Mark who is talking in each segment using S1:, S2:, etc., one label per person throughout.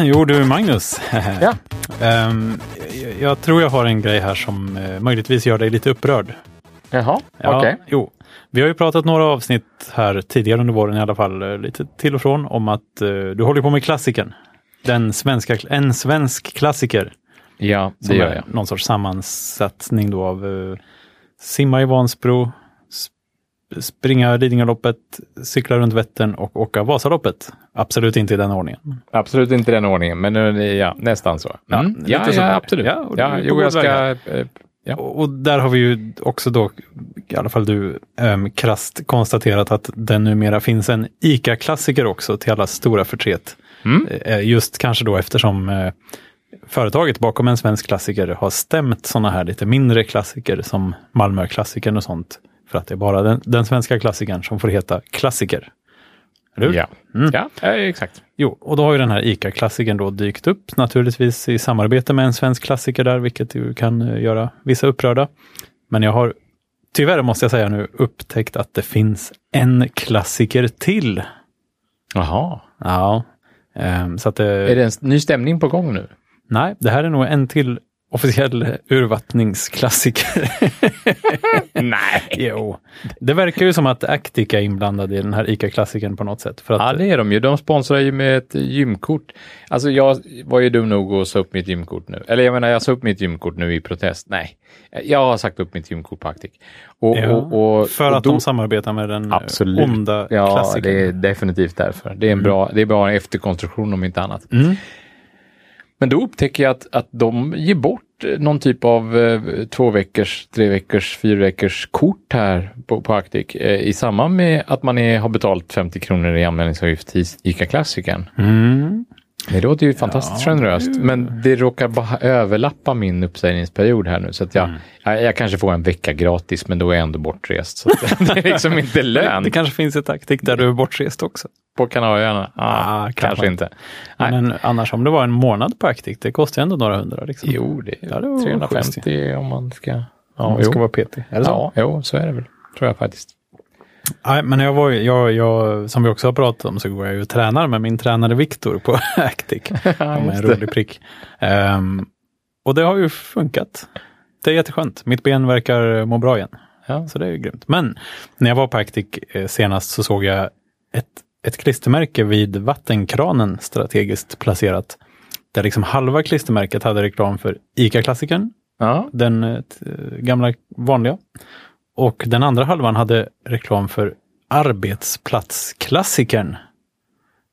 S1: Jo du Magnus.
S2: Ja.
S1: Ehm, jag- jag tror jag har en grej här som eh, möjligtvis gör dig lite upprörd.
S2: Jaha,
S1: Ja,
S2: okej.
S1: Jo. Vi har ju pratat några avsnitt här tidigare under våren i alla fall, eh, lite till och från, om att eh, du håller på med klassikern. Den svenska, en svensk klassiker.
S2: Ja, det
S1: Som
S2: gör
S1: är
S2: jag.
S1: någon sorts sammansättning då av eh, simma i Vansbro, sp- springa Lidingöloppet, cykla runt Vättern och åka Vasaloppet. Absolut inte i den ordningen.
S2: Absolut inte i den ordningen, men eh, ja, nästan så.
S1: Ja,
S2: Mm.
S1: lite
S2: Ja, ja,
S1: så där.
S2: absolut.
S1: Ja, och
S2: Ja,
S1: du är på
S2: jo,
S1: god
S2: jag ska...
S1: väg
S2: eh, Ja.
S1: Och och där har vi ju också då, i alla fall du, um, krast konstaterat att det numera finns en ICA-klassiker också till alla stora förtret.
S2: Mm.
S1: Eh, Just kanske då eftersom eh, företaget bakom en svensk klassiker har stämt sådana här lite mindre klassiker som Malmö-klassikern och sånt. För att det är bara den, den svenska klassikern som får heta klassiker. Eller hur?
S2: Ja, ja eh, exakt.
S1: Jo, och då har ju den här ICA-klassikern då dykt upp, naturligtvis i samarbete med en svensk klassiker där, vilket ju kan eh, göra vissa upprörda. Men jag har, tyvärr måste jag säga nu, upptäckt att det finns en klassiker till.
S2: Jaha.
S1: Ja, ehm, så att det,
S2: Är det en s- ny stämning på gång nu?
S1: nej, det här är nog en till officiell urvattningsklassiker.
S2: Nej.
S1: jo, det verkar ju som att Actica är inblandad i den här ICA-klassikern på något sätt. För att,
S2: Ja, det är de ju. De sponsrar ju med ett gymkort. Alltså, jag var ju dum nog att sa upp mitt gymkort nu. Eller jag menar, jag sa upp mitt gymkort nu i protest. Nej, jag har sagt upp mitt gymkort på Actic. Och,
S1: Ja,
S2: och, och,
S1: eh, för
S2: och
S1: att
S2: då-
S1: de samarbetar med den eh,
S2: Absolut.
S1: onda
S2: Ja,
S1: klassikern.
S2: det är definitivt därför. Det är, en bra, det är bara en efterkonstruktion om inte annat.
S1: Mm.
S2: Men då upptäcker jag att, att de ger bort eh, någon typ av eh, två veckors, tre veckors, fyra veckors kort här på, på Actic eh, i samband med att man är, har betalt 50 kronor i anmälningsavgift till ICA Klassikern.
S1: Mm.
S2: Det låter ju fantastiskt generöst, men det råkar bara överlappa min uppsägningsperiod här nu. Så att jag,
S1: Mm.
S2: jag, jag kanske får en vecka gratis, men då är jag ändå bortrest. Så att det är liksom inte lön.
S1: Det kanske finns ett taktik där du är bortrest också.
S2: På Kanarieöarna? Ah,
S1: Ah, kan
S2: kanske
S1: man.
S2: inte. Nej.
S1: Men annars om det var en månad på Arctic, det kostar ju ändå några hundra. Liksom.
S2: Jo, det är
S1: Ja, det var
S2: 350 om man ska... Ja,
S1: Om
S2: jo.
S1: det ska vara petig. Är det så?
S2: ja, jo, så är det väl. Tror jag faktiskt.
S1: Nej, men jag var, ju- jag, jag, som vi också har pratat om så går jag ju och tränar med min tränare Viktor på Actic. Om en
S2: just det.
S1: rolig prick. Ehm, och det har ju funkat. Det är jätteskönt. Mitt ben verkar må bra igen.
S2: Ja.
S1: Så det är ju grymt. Men när jag var på Actic eh, senast så såg jag ett, ett klistermärke vid vattenkranen strategiskt placerat. Där liksom halva klistermärket hade reklam för ICA-klassikern
S2: Ja,
S1: den eh, t- gamla vanliga. Och den andra halvan hade reklam för arbetsplatsklassikern.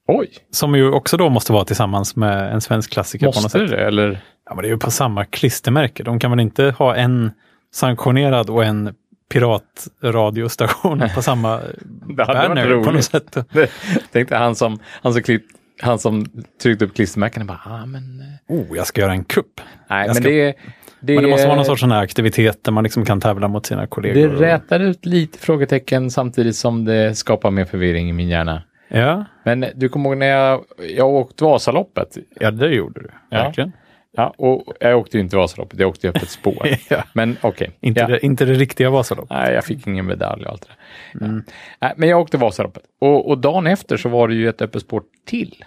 S2: oj.
S1: Som ju också då måste vara tillsammans med en svensk klassiker på något
S2: Måste
S1: sätt.
S2: det eller?
S1: Ja, men det är ju på samma klistermärke. De kan väl inte ha en sanktionerad och en piratradiostation på samma
S2: Det hade varit
S1: banner på något
S2: roligt.
S1: sätt.
S2: Tänkte han som, han som, klippt, han som tryckte upp klistermärkena bara, ah, men... eh,
S1: Oh, jag ska göra en kupp.
S2: Nej,
S1: Jag
S2: men
S1: ska-
S2: det, är- det...
S1: Men det måste
S2: är-
S1: vara någon sorts sån här aktivitet där man liksom kan tävla mot sina
S2: Det
S1: kollegor.
S2: rätar ut lite frågetecken samtidigt som det skapar mer förvirring i min hjärna.
S1: Ja,
S2: Men du kommer ihåg när jag, jag åkte Vasaloppet
S1: ja, det gjorde du.
S2: Ja.
S1: Verkligen.
S2: Ja, och jag åkte ju inte Vasaloppet, jag åkte ju öppet spår.
S1: Ja.
S2: Men okej.
S1: Inte,
S2: Ja.
S1: det, inte det riktiga Vasaloppet.
S2: Nej, jag fick ingen medalj och allt det där. Ja. Nej, Men jag åkte Vasaloppet. Och, och dagen efter så var det ju ett öppet spår till.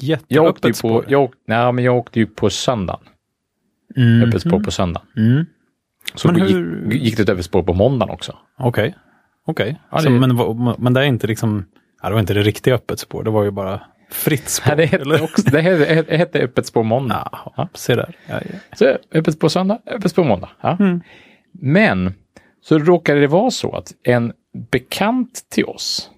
S2: Jag åkte, ju
S1: Jätteöppet
S2: på,
S1: spår.
S2: jag, åkte, nej, men jag åkte ju på söndagen.
S1: Mm.
S2: Öppet spår på söndagen.
S1: Mm.
S2: Så
S1: Men
S2: men
S1: hur-
S2: gick, gick det ett öppet spår på måndagen också.
S1: Okej. Okej.
S2: Ja,
S1: Så,
S2: det-
S1: men, vad- men det är inte liksom, ja, det var inte det riktiga öppet spår, det var ju bara fritt spår.
S2: Nej, det hette, också, det hette, det hette öppet spår måndag.
S1: Ja, se där. Ja, ja.
S2: Så öppet på söndag, öppet på måndag. Ja. Men så råkade det vara så att en bekant till oss,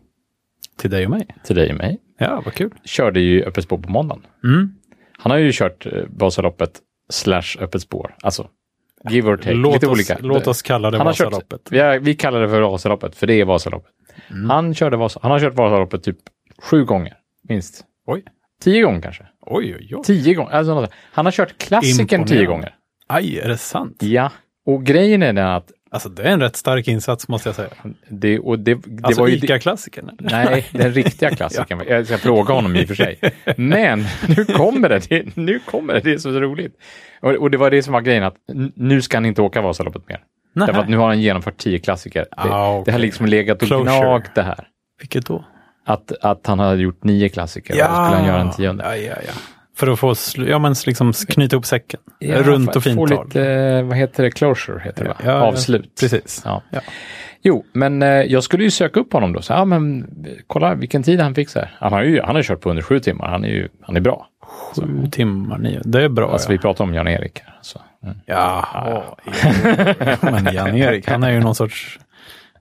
S1: Till dig och mig.
S2: till dig och mig,
S1: Ja, vad kul.
S2: körde ju öppet spår på måndagen.
S1: Mm.
S2: Han har ju kört eh, Vasaloppet slash öppet spår. Alltså, give or take.
S1: Låt,
S2: Lite
S1: oss,
S2: olika.
S1: låt oss kalla det
S2: han har kört,
S1: Vasaloppet. Mm.
S2: vi, har, vi kallar det för Vasaloppet, för det är Vasaloppet. Han, körde Vas, han har kört Vasaloppet typ sju gånger, minst.
S1: Oj.
S2: Tio gånger kanske.
S1: Oj, oj, oj.
S2: Tio gånger. Alltså, något sånt. han har kört klassikern tio
S1: Imponerande.
S2: gånger.
S1: Aj, är det sant?
S2: Ja. Och grejen är den att
S1: Alltså, det är en rätt stark insats måste jag säga.
S2: det, och det, det
S1: Alltså,
S2: var ju...
S1: ICA-klassikern. eller?
S2: Nej, den riktiga klassikern. Jag ska fråga honom i och för sig. Men nu kommer det. det nu kommer det. Det är så roligt. Och, och det var det som var grejen, att n- nu ska han inte åka Vasaloppet mer.
S1: Nej.
S2: Därför att nu har han genomfört tio klassiker. Det,
S1: Ah, okej.
S2: det har liksom legat och
S1: Closure.
S2: gnagt det här.
S1: Vilket då?
S2: Att, att han har gjort nio klassiker och då skulle han göra en tionde.
S1: Ja, ja, ja. För att få sl- ja, men liksom s- knyta ihop säcken.
S2: Ja,
S1: Runt
S2: få-
S1: och fint
S2: Få
S1: tal.
S2: lite, eh, vad heter det, closure heter det va?
S1: Ja, ja,
S2: Avslut.
S1: Precis.
S2: Ja.
S1: Ja.
S2: Jo, men eh, jag skulle ju söka upp honom då. Så, ja, men eh, kolla vilken tid han fick så här. Han har ju han har kört på under sju timmar. Han är ju han är bra.
S1: Sju Alltså, timmar, nio. Det är bra.
S2: Alltså vi pratar om Jan-Erik. här, Så. Mm.
S1: Jaha, jo. men Jan-Erik, han är ju någon sorts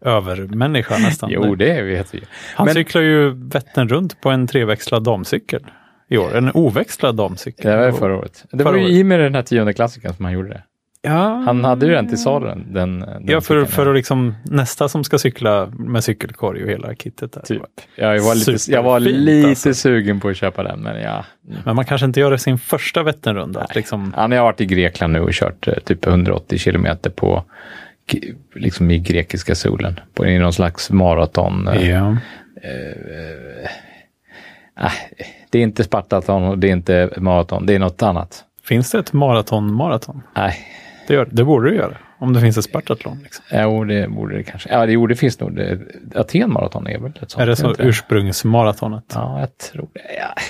S1: övermänniska nästan.
S2: Jo, det vet vi.
S1: han
S2: men-
S1: cyklar ju Vättern runt på en treväxlad damcykel i år. En oväxlad damcykel.
S2: Det var ju förra året. Det
S1: Förra
S2: var ju
S1: året.
S2: i med den här tionde klassiken som han gjorde det.
S1: Ja,
S2: Han hade ju den till sadeln. Den, den
S1: ja för,
S2: cykeln.
S1: för att liksom nästa som ska cykla med cykelkorg och hela kittet. Där.
S2: Typ. Ja, jag var lite, jag var
S1: Superfint,
S2: lite
S1: alltså.
S2: sugen på att köpa den, men ja.
S1: Men man kanske inte gör det sin första Vätternrunda. att Liksom,
S2: Han har varit i Grekland nu och kört eh, typ 180 kilometer på g- liksom i grekiska solen. På, I någon slags maraton. eh,
S1: ja.
S2: äh, Det är inte Spartaton och det är inte maraton. Det är något annat. Äh,
S1: Finns det ett maraton-maraton?
S2: Nej,
S1: Det, gör, det borde det göra, om det finns ett Spartathlon. Liksom.
S2: jo, det borde det kanske. Ja, det, jo, det finns nog. Det, Aten maraton är väl ett sånt?
S1: Är det så
S2: inte
S1: ursprungsmaratonet?
S2: Ja, jag tror det. Ja.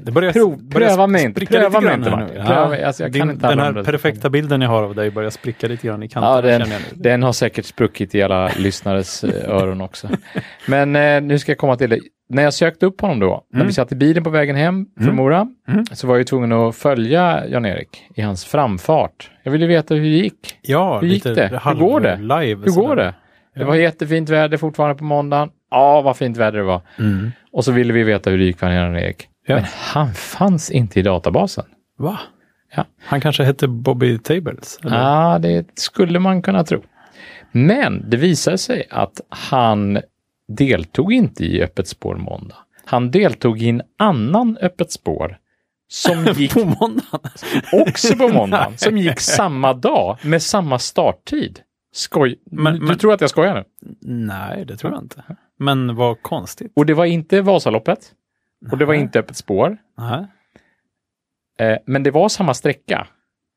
S1: Det börjar,
S2: Prov-
S1: börjar
S2: pröva mig inte,
S1: spricka
S2: pröva
S1: lite grann
S2: mig inte,
S1: här
S2: Martin.
S1: nu.
S2: Pröva- alltså, jag kan
S1: Din,
S2: inte
S1: den
S2: alla
S1: här
S2: andra-
S1: perfekta bilden jag har av dig börjar spricka lite grann i kanten.
S2: Ja, den,
S1: känner jag nu.
S2: den har säkert spruckit i alla lyssnares eh, öron också. Men eh, nu ska jag komma till det. När jag sökte upp honom då, när
S1: Mm.
S2: vi satt i bilen på vägen hem från Mora, så var jag ju tvungen att följa Jan-Erik i hans framfart. Jag ville veta hur det gick.
S1: Ja,
S2: Hur gick
S1: lite
S2: det? Hur går det?
S1: Live,
S2: Hur
S1: sådär.
S2: går det? Det var jättefint väder fortfarande på måndagen. Ja, vad fint väder det var.
S1: Mm.
S2: Och så ville vi veta hur det gick för Jan-Erik.
S1: Ja.
S2: Men han fanns inte i databasen.
S1: Va?
S2: Ja.
S1: Han kanske hette Bobby Tables? eller?
S2: Ja, det skulle man kunna tro. Men det visade sig att han deltog inte i Öppet spår måndag. Han deltog i en annan Öppet spår som gick
S1: På måndagen?
S2: också på måndagen, som gick samma dag med samma starttid. Skoj.
S1: Men-
S2: du
S1: men-
S2: tror att jag skojar nu?
S1: Nej, det tror jag inte. Men vad konstigt.
S2: Och det var inte Vasaloppet. Och det var inte Öppet spår.
S1: Nej.
S2: Eh, men det var samma sträcka.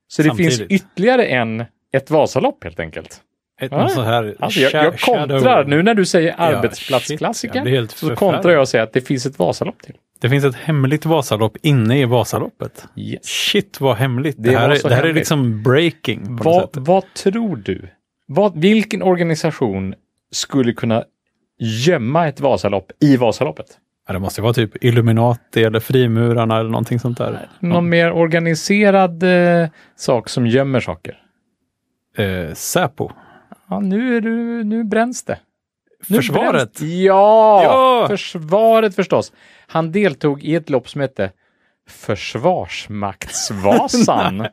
S2: Så det finns
S1: Samtidigt.
S2: ytterligare en, ett Vasalopp helt enkelt.
S1: Ett,
S2: Nej.
S1: någon så här
S2: Alltså jag,
S1: sha-
S2: jag kontrar,
S1: shadow-
S2: nu när du säger
S1: Ja, shit,
S2: arbetsplatsklassiker,
S1: jag blir helt
S2: så
S1: förfärad.
S2: kontrar jag och säger att det finns ett Vasalopp till.
S1: Det finns ett hemligt Vasalopp inne i Vasaloppet. Shit vad hemligt. Det,
S2: Det
S1: här,
S2: var
S1: är,
S2: så
S1: det här är
S2: hemligt.
S1: liksom breaking. På något
S2: Vad,
S1: sätt.
S2: vad tror du? Vad, vilken organisation skulle kunna gömma ett Vasalopp i Vasaloppet?
S1: Ja, det måste ju vara typ Illuminati eller Frimurarna eller någonting sånt där.
S2: Någon mer organiserad eh, sak som gömmer saker?
S1: Eh, Säpo.
S2: Ja, nu, är du, nu bränns det. Nu
S1: Försvaret.
S2: bränns- Ja,
S1: Ja!
S2: försvaret förstås. Han deltog i ett lopp som hette Försvarsmaktsvasan.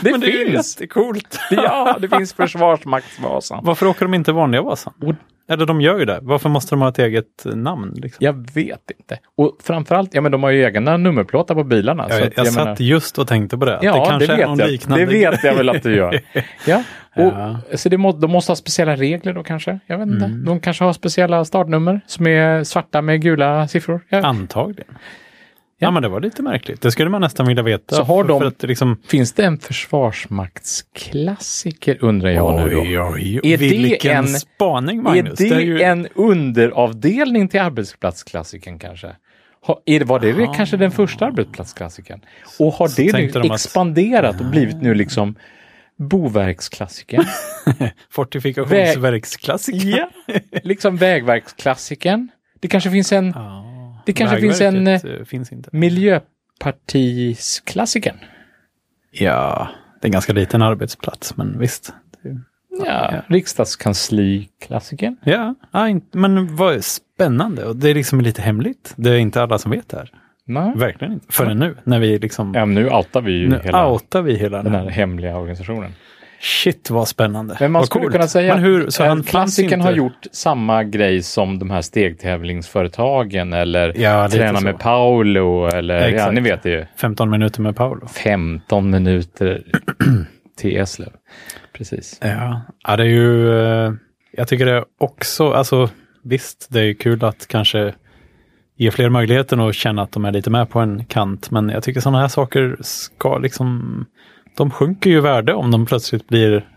S2: det,
S1: Men det är ju
S2: finns!
S1: jättecoolt.
S2: ja, det finns Försvarsmaktsvasan.
S1: Varför åker de inte vanliga Vasan?
S2: Och-
S1: Eller de gör ju det. Varför måste de ha ett eget namn? Liksom?
S2: Jag vet inte. Och framförallt, ja men de har ju egna nummerplåtar på bilarna.
S1: Jag,
S2: så
S1: jag,
S2: att, jag
S1: satt
S2: menar-
S1: just och tänkte på det. att
S2: Ja, det,
S1: kanske är någon
S2: vet jag.
S1: liknande
S2: Det vet jag väl att du gör. Ja. Och,
S1: Ja. Mm.
S2: Så det må, de måste ha speciella regler då kanske? Jag vet inte. De kanske har speciella startnummer som är svarta med gula siffror. Jag,
S1: Antagligen. Ja. men det var lite märkligt. Det skulle man nästan vilja veta.
S2: Så har
S1: För-
S2: de-
S1: för att liksom,
S2: Finns det en försvarsmaktsklassiker undrar jag nu då?
S1: Oj, oj, oj.
S2: Är det
S1: Vilken
S2: en-
S1: spaning
S2: Är
S1: Magnus.
S2: det,
S1: ju-
S2: en underavdelning till arbetsplatsklassikern kanske? Ha, är det, var det
S1: Ah.
S2: kanske den första arbetsplatsklassikern? Och har det
S1: tänkte
S2: nu
S1: de att- Ah.
S2: expanderat och blivit nu liksom Boverksklassikern?
S1: Fortifikationsverksklassiker.
S2: ja, liksom Vägverksklassikern. Det kanske finns en
S1: Ja.
S2: Det kanske finns
S1: Vägverket, eh, finns inte.
S2: miljöpartisklassikern.
S1: Ja, det är en ganska liten arbetsplats, men visst.
S2: Ja, riksdagskansliklassikern.
S1: Ja, ja, in- men vad spännande. Och det är liksom lite hemligt. Det är inte alla som vet det här.
S2: Nej.
S1: Verkligen inte. Förrän nu, när vi liksom...
S2: Ja, men nu outar vi ju
S1: Nu
S2: hela
S1: outar vi hela den
S2: den här
S1: här.
S2: hemliga organisationen.
S1: Shit vad spännande.
S2: Men man
S1: vad
S2: skulle
S1: coolt.
S2: kunna säga
S1: Men hur,
S2: att
S1: så
S2: eh,
S1: han fanns
S2: klassikern
S1: inte-
S2: har gjort samma grej som de här stegtävlingsföretagen eller
S1: Ja, lite
S2: Träna
S1: så.
S2: med Paolo eller ja,
S1: Exakt.
S2: ni vet det ju.
S1: 15 minuter med Paolo.
S2: 15 minuter till Eslöv. Precis.
S1: Ja, ja det är ju... eh, Jag tycker det också, alltså visst, det är ju kul att kanske ge fler möjligheten och känna att de är lite med på en kant, men jag tycker sådana här saker ska liksom... De sjunker ju i värde om de plötsligt blir...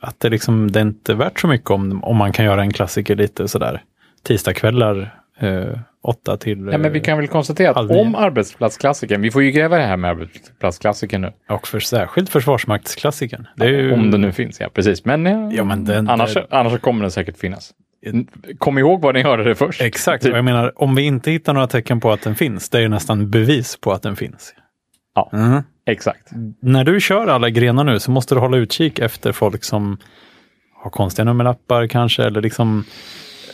S1: Att det liksom, det är inte värt så mycket om, om man kan göra en klassiker lite sådär tisdagkvällar eh, 8 till...
S2: Ja, men vi kan väl konstatera att
S1: halv nio.
S2: om arbetsplatsklassikern, vi får ju gräva det här med arbetsplatsklassikern nu,
S1: eh, Och för särskilt Försvarsmaktsklassikern. Det är ju...
S2: om den nu finns, ja precis. Men eh,
S1: Ja, men den-
S2: annars,
S1: den-
S2: annars så kommer den säkert finnas. Kom ihåg var ni hörde det först.
S1: Exakt,
S2: Typ.
S1: och jag menar om vi inte hittar några tecken på att den finns, det är ju nästan bevis på att den finns.
S2: Ja.
S1: Mm.
S2: Exakt.
S1: När du kör alla grenar nu så måste du hålla utkik efter folk som har konstiga nummerlappar kanske, eller liksom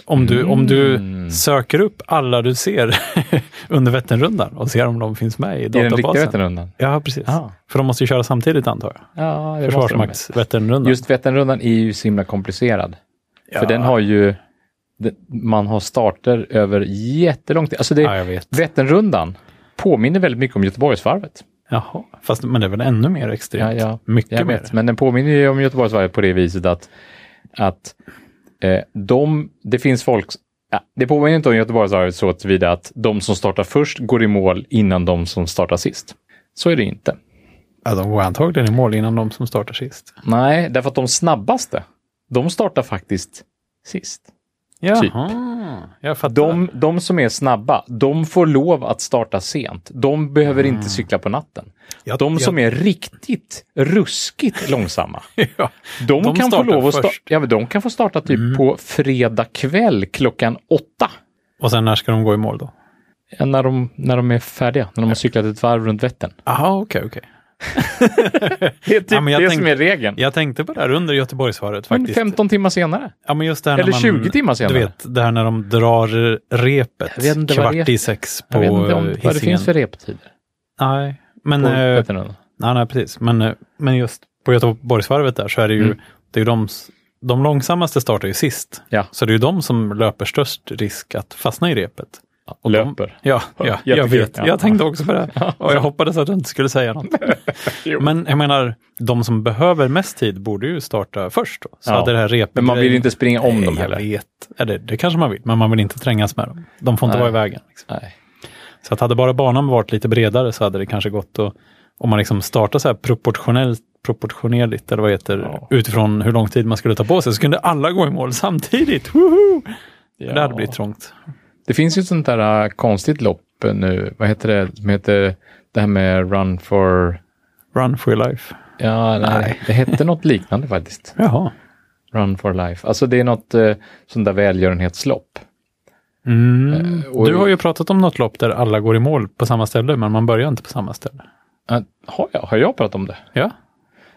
S1: om du, om du
S2: Mm.
S1: söker upp alla du ser under Vätternrundan och ser om de finns med i
S2: I den riktiga
S1: databasen.
S2: Vätternrundan.
S1: Ja, precis.
S2: Ah.
S1: För de måste ju köra samtidigt antar jag.
S2: Ja, det måste de.
S1: Försvarsmakts-Vätternrundan.
S2: Just Vätternrundan är ju så himla komplicerad.
S1: ja.
S2: För den har ju, den- man har starter över jättelång tid. Alltså det,
S1: Ja, jag vet.
S2: Vätternrundan påminner väldigt mycket om Göteborgsvarvet.
S1: Jaha, fast men det är väl ännu mer extremt?
S2: Ja, ja.
S1: Mycket
S2: Jag
S1: mer.
S2: vet, men den påminner ju om Göteborgsvarvet på det viset att, att eh, de, det finns folk, ja, det påminner inte om Göteborgsvarvet så tillvida att de som startar först går i mål innan de som startar sist. Så är det inte.
S1: Ja, de går antagligen i mål innan de som startar sist.
S2: Nej, därför att de snabbaste, de startar faktiskt sist.
S1: Jaha,
S2: Typ.
S1: Ah, jag fattar.
S2: De, de som är snabba, de får lov att starta sent. De behöver inte cykla på natten.
S1: Mm. Jag-
S2: De
S1: jag-
S2: som är riktigt ruskigt långsamma,
S1: ja.
S2: de,
S1: De
S2: kan, få
S1: startar
S2: lov att sta-
S1: först.
S2: ja, men de kan få starta typ på fredag kväll klockan åtta.
S1: Och sen när ska de gå i mål då?
S2: Ja, När de, när de är färdiga, när de har cyklat ett varv runt Vättern.
S1: Jaha, okej, okej.
S2: Det är typ
S1: Ja, men jag
S2: det som
S1: tänkte-
S2: är regeln.
S1: Jag tänkte på det här under Göteborgsvarvet
S2: Men
S1: faktiskt.
S2: 15 timmar senare.
S1: ja, men just det här när
S2: eller
S1: man,
S2: 20 timmar senare.
S1: Du vet, det här när de drar repet
S2: Jag vet inte vad
S1: kvart
S2: rep-
S1: i sex på
S2: Jag vet inte om,
S1: eh,
S2: vad det
S1: Hisingen.
S2: finns för reptider.
S1: Nej, men,
S2: På
S1: eh,
S2: Vätternrundan.
S1: nej, nej, precis. Men, eh, men just på Göteborgsvarvet där så är det ju,
S2: Mm.
S1: det är ju de, s- de långsammaste startar ju sist.
S2: Ja.
S1: Så det är ju de som löper störst risk att fastna i repet.
S2: Och löper.
S1: Ja, ja jag
S2: jättekul.
S1: vet.
S2: Ja.
S1: Jag tänkte också på det. Och jag hoppades att du inte skulle säga något.
S2: Jo.
S1: Men jag menar, de som behöver mest tid borde ju starta först. Då. Så
S2: Ja.
S1: hade det här repet...
S2: Men man vill ju inte springa om
S1: Nej,
S2: dem
S1: jag
S2: heller.
S1: vet. Eller det kanske man vill, men man vill inte trängas med dem. De får inte
S2: Nej.
S1: vara i vägen. Liksom.
S2: Nej.
S1: Så att hade bara banan varit lite bredare så hade det kanske gått att... Om man liksom startar så här proportionellt proportionerligt, eller vad det heter,
S2: Ja.
S1: utifrån hur lång tid man skulle ta på sig, så kunde alla gå i mål samtidigt. Woho! Det hade blivit trångt.
S2: Det finns ju ett sånt där äh, konstigt lopp äh, nu. Vad heter det? Som heter det här med Run for...
S1: Run for your life.
S2: Ja, nej. Det hette något liknande faktiskt.
S1: Jaha.
S2: Run for life. Alltså det är något äh, sånt där välgörenhetslopp.
S1: Mm.
S2: Eh, och-
S1: du har ju pratat om något lopp där alla går i mål på samma ställe, men man börjar inte på samma ställe.
S2: Äh, har, jag, har jag pratat om det?
S1: Ja,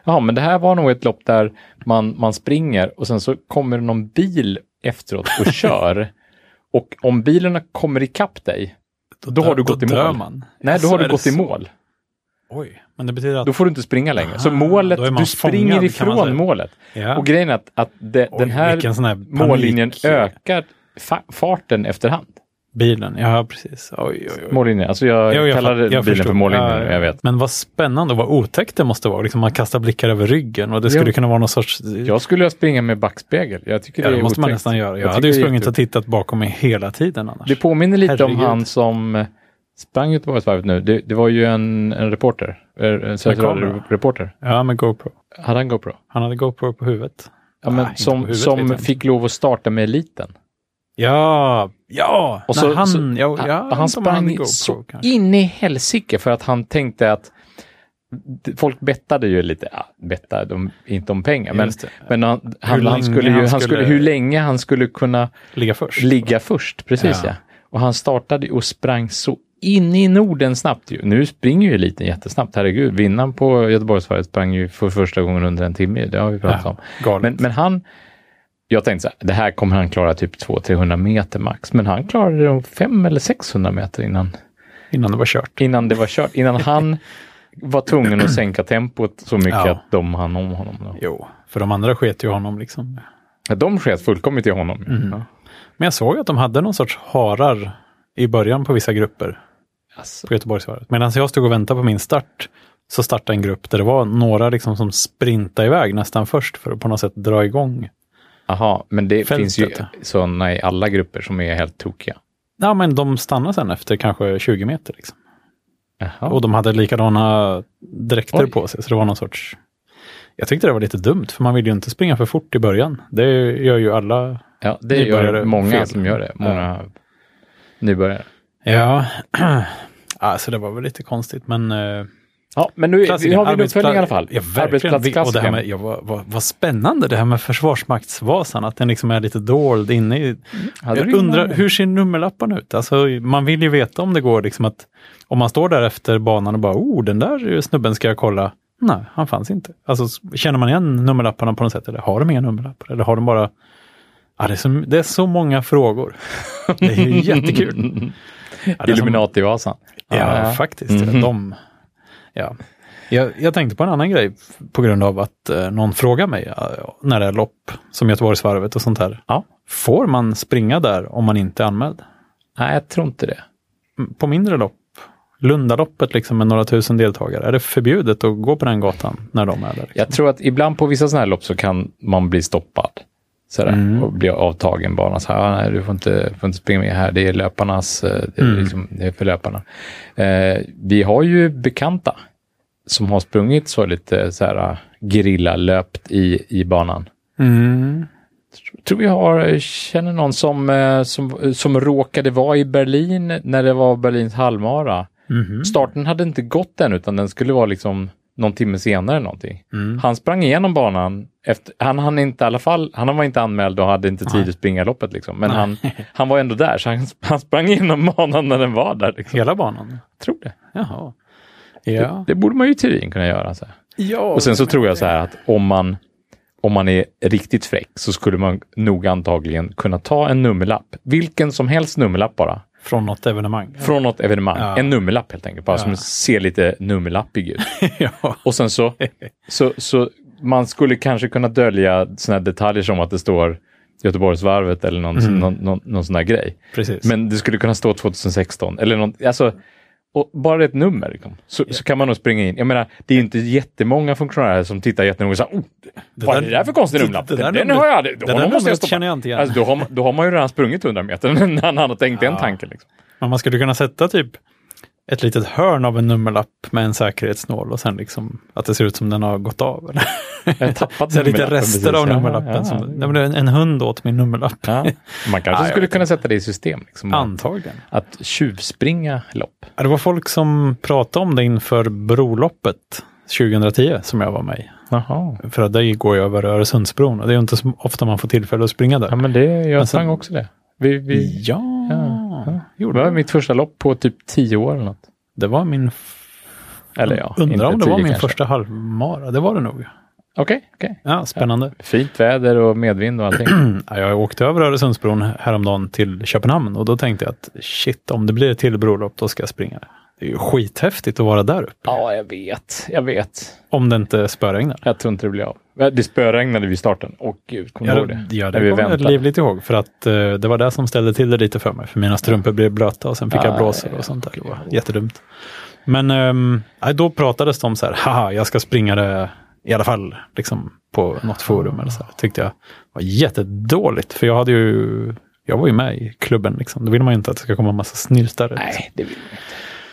S2: Ja, men det här var nog ett lopp där man, man springer och sen så kommer det någon bil efteråt och kör. Och om bilen kommer ikapp dig, Då har du gått i
S1: dör
S2: mål.
S1: Man.
S2: nej, då
S1: Så
S2: har du
S1: är det
S2: gått i
S1: så.
S2: mål.
S1: Oj, men det betyder att...
S2: Då får du inte springa längre. Så
S1: Ah,
S2: målet,
S1: då är man
S2: du springer
S1: fångad, kan man
S2: ifrån
S1: säga.
S2: målet.
S1: ja.
S2: Och grejen är att, att de,
S1: Oj,
S2: den här
S1: vilken sån här
S2: mållinjen
S1: panik-
S2: ökar fa- farten efterhand.
S1: Bilen, ja precis. Oj, oj, oj.
S2: Mållinjen, alltså jag
S1: Jo,
S2: kallar
S1: fatt-
S2: bilen för
S1: förstod.
S2: mållinjen
S1: Ja, ja.
S2: jag vet.
S1: Men vad spännande och vad otäckt det måste vara. Liksom man kastar blickar över ryggen och det skulle
S2: Ja.
S1: kunna vara någon sorts... Ja,
S2: Jag skulle springa med backspegel. Jag tycker
S1: det
S2: det är
S1: måste man
S2: otäckt.
S1: nästan göra. Jag,
S2: Jag
S1: hade ju
S2: tycker det är
S1: sprungit och
S2: jätte-
S1: tittat bakom mig hela tiden annars.
S2: Det påminner lite om
S1: Herregud.
S2: han som eh, sprang Göteborgsvarvet nu. Det, det var ju en, en reporter, eh, en Sveriges
S1: kamera.
S2: Radio-reporter.
S1: Ja, med GoPro.
S2: Hade han GoPro?
S1: Han hade GoPro på huvudet.
S2: Ja, men
S1: Ah, inte på
S2: som
S1: huvudet, vet
S2: som
S1: jag inte.
S2: fick lov att starta med eliten.
S1: Ja, ja.
S2: Och
S1: Och
S2: så-
S1: han,
S2: så-
S1: ja, ja,
S2: han, han
S1: inte om hade
S2: sprang
S1: GoPro,
S2: så
S1: kanske.
S2: in i helsike för att han tänkte att d- folk bettade ju lite, ja, bettade de, inte om pengar, men,
S1: Just det.
S2: men han, han,
S1: länge
S2: han, skulle ju,
S1: han
S2: han skulle,
S1: skulle-
S2: hur länge han skulle kunna
S1: Ligga först.
S2: ligga först. Precis ja.
S1: Ja.
S2: Och han startade ju och sprang så in i Norden snabbt. Ju. Nu springer ju eliten jättesnabbt, herregud. Vinnaren på Göteborgsvarvet sprang ju för första gången under en timme, det har vi pratat om.
S1: galet.
S2: Men, men han, jag tänkte så här, det här kommer han klara typ 200-300 meter max, men han klarade de 500 eller 600 meter innan,
S1: Innan det var kört.
S2: innan det var kört, innan han var tvungen att sänka tempot så mycket
S1: Ja.
S2: att de hann om honom. Då.
S1: Jo, för de andra sket ju honom liksom.
S2: Ja, De sket fullkomligt i honom.
S1: Mm.
S2: Ja.
S1: Men jag såg att de hade någon sorts harar i början på vissa grupper
S2: Alltså,
S1: på Göteborgsvarvet. Medan jag stod och väntade på min start så startade en grupp där det var några liksom som sprintade iväg nästan först för att på något sätt dra igång.
S2: aha, men det
S1: Fältet.
S2: finns ju sådana i alla grupper som är helt tokiga.
S1: Ja, men de stannade sen efter kanske 20 meter. Liksom.
S2: Jaha.
S1: Och de hade likadana dräkter
S2: Oj.
S1: på sig, så det var någon sorts... Jag tyckte det var lite dumt, för man vill ju inte springa för fort i början. Det gör ju alla
S2: Ja, det
S1: Nybörjare
S2: gör många
S1: fel.
S2: som gör det. Många nybörjare.
S1: Ja, alltså det var väl lite konstigt, men eh,
S2: Ja, men nu,
S1: klassiker,
S2: nu har vi en uppföljning
S1: arbetspla-
S2: i alla fall.
S1: Ja, verkligen. Vi- Och det här med, ja, vad, vad, vad spännande det här med Försvarsmaktsvasan, att den liksom är lite dold inne i...
S2: Hade
S1: jag
S2: du ingen
S1: undrar,
S2: aning?
S1: hur ser nummerlapparna ut? Alltså, man vill ju veta om det går liksom att... Om man står där efter banan och bara, oh, den där snubben ska jag kolla. Nej, han fanns inte. Alltså, s- känner man igen nummerlapparna på något sätt? Eller har de inga nummerlappar? Eller har de bara... Ja, det, är så, det är så många frågor. Det är ju jättekul. Ja, det är som-
S2: Illuminati-vasan.
S1: Ja, faktiskt. De, ja. jag, jag tänkte på en annan grej f- på grund av att eh, någon frågar mig eh, när det är lopp, som Göteborgsvarvet och sånt här.
S2: Ja.
S1: Får man springa där om man inte är anmäld?
S2: Nej, jag tror inte det.
S1: M- På mindre lopp, Lundaloppet liksom med några tusen deltagare, är det förbjudet att gå på den gatan när de är där?
S2: Jag tror att ibland på vissa sådana här lopp så kan man bli stoppad. Sådär, Och bli avtagen banan. Så här, ah, nej, du får inte, får inte springa med här. Det är löparnas, eh, det är, liksom, det är för löparna. Eh, vi har ju bekanta som har sprungit så lite så här löpt i, i banan.
S1: Mm.
S2: tror vi har, känner någon som, eh, som, som råkade vara i Berlin när det var Berlins halvmara. Starten hade inte gått än utan den skulle vara liksom någon timme senare eller någonting. Han sprang igenom banan. Efter, han, hann inte, i alla fall, han var inte anmäld och hade inte tid att springa loppet. Liksom. Men han, han var ändå där, så han, han sprang igenom banan när den var där. Liksom.
S1: Hela banan?
S2: Jag tror det.
S1: Jaha. Ja.
S2: Det borde man ju i teorin kunna göra. Så här.
S1: ja.
S2: Och sen så tror jag så här att om man, om man är riktigt fräck så skulle man nog antagligen kunna ta en nummerlapp, vilken som helst nummerlapp bara,
S1: Från något evenemang?
S2: från något evenemang.
S1: Ja.
S2: En nummerlapp helt enkelt, bara som ser lite nummerlappig ut.
S1: ja.
S2: Och sen så, så, så man skulle kanske kunna dölja såna här detaljer som att det står Göteborgsvarvet eller någon, någon, någon, någon sån här grej.
S1: Precis.
S2: Men det skulle kunna stå 2016 eller något, alltså, och bara ett nummer liksom, så, så kan man nog springa in. Jag menar, det är ju inte jättemånga funktionärer som tittar jättenoga och säger oh, vad är
S1: där-
S2: det där för konstig
S1: det-
S2: nummerlapp?
S1: det där
S2: Den,
S1: numret-
S2: har jag aldrig,
S1: det
S2: då,
S1: där
S2: honom måste
S1: numret
S2: jag stoppa.
S1: känner jag inte igen.
S2: Alltså, då, har man, då har man ju redan sprungit 100 meter innan han har tänkt den tanken. Liksom.
S1: Men man skulle kunna sätta typ ett litet hörn av en nummerlapp med en säkerhetsnål och sen liksom att det ser ut som den har gått av. Eller?
S2: Jag tappat
S1: Så här lite
S2: nummerlappen
S1: rester
S2: precis.
S1: av
S2: Ja,
S1: nummerlappen.
S2: ja,
S1: som,
S2: det-
S1: nej, men det är en, en hund åt min nummerlapp.
S2: Ja. Man
S1: Ja,
S2: kanske
S1: jag
S2: skulle
S1: vet
S2: kunna sätta det i system. Liksom, att,
S1: Antagligen.
S2: att tjuvspringa lopp.
S1: Ja, Det var folk som pratade om det inför Broloppet 2010 som jag var med i.
S2: Jaha.
S1: För att där går jag över Öresundsbron och det är ju inte så ofta man får tillfälle att springa där.
S2: Ja, men det, jag
S1: sen-
S2: sprang också det. Vi, vi,
S1: Ja,
S2: det var mitt första lopp på typ 10 år eller något.
S1: det var min... f-
S2: Eller ja, inte
S1: Undrar om det var
S2: tio
S1: min
S2: kanske.
S1: första halvmara. Det var det nog.
S2: Okej, okej.
S1: Ja, spännande.
S2: Fint väder och medvind och allting.
S1: Ja, Jag åkte över Öresundsbron häromdagen till Köpenhamn och då tänkte jag att shit, om det blir ett till brolopp, då ska jag springa. Det är ju skithäftigt att vara där uppe,
S2: ja, jag vet. Jag vet.
S1: om det inte spöregnar.
S2: Jag tror inte det blir av. Det spöregnade vid starten. Åh gud, kommer du
S1: Ja,
S2: ihåg det?
S1: ja,
S2: När
S1: det
S2: vi
S1: kommer jag
S2: väntade.
S1: livligt ihåg, för att eh, det var det som ställde till det lite för mig. För mina strumpor blev blöta och sen fick jag
S2: Ah,
S1: blåsor och sånt där. Det var jättedumt. Men ehm, nej, då pratades det om så här, haha, jag ska springa det i alla fall, liksom på något forum eller så här. Tyckte jag var jättedåligt, för jag hade ju jag var ju med i klubben, liksom. då vill man ju inte att det ska komma en massa snyltare. liksom.
S2: Nej, det vill vi inte.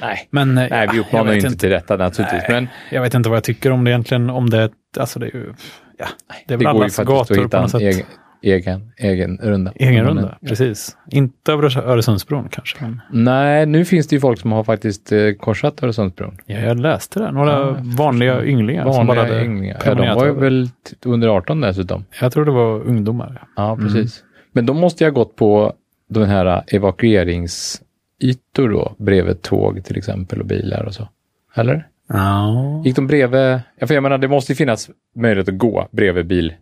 S2: Nej.
S1: Men, eh,
S2: Nej, vi
S1: ja,
S2: uppmanar
S1: jag
S2: ju
S1: vet
S2: inte till detta naturligtvis. Men
S1: Jag vet inte vad jag tycker om det egentligen, om det, alltså det är ju, ja, det är
S2: det
S1: väl
S2: går ju
S1: allas
S2: faktiskt att
S1: gator på
S2: hitta
S1: något
S2: en
S1: sätt.
S2: egen, egen, egen runda.
S1: Egen
S2: Men-
S1: runda, precis. Inte över Öres- Öresundsbron kanske. Men
S2: Nej, nu finns det ju folk som har faktiskt eh, korsat Öresundsbron.
S1: ja, jag läste det. Några vanliga ynglingar. som bara
S2: Vanliga
S1: hade
S2: ynglingar. Ja, de
S1: promenerat
S2: var ju
S1: över.
S2: väl t- under 18 dessutom.
S1: Jag tror det var ungdomar. ja.
S2: Ja, precis. Men de måste jag ha gått på den här evakueringsytor då, bredvid tåg till exempel och bilar och så. Eller?
S1: Ja.
S2: Gick de bredvid? Ja, för jag menar, det måste ju finnas möjlighet att gå bredvid bil.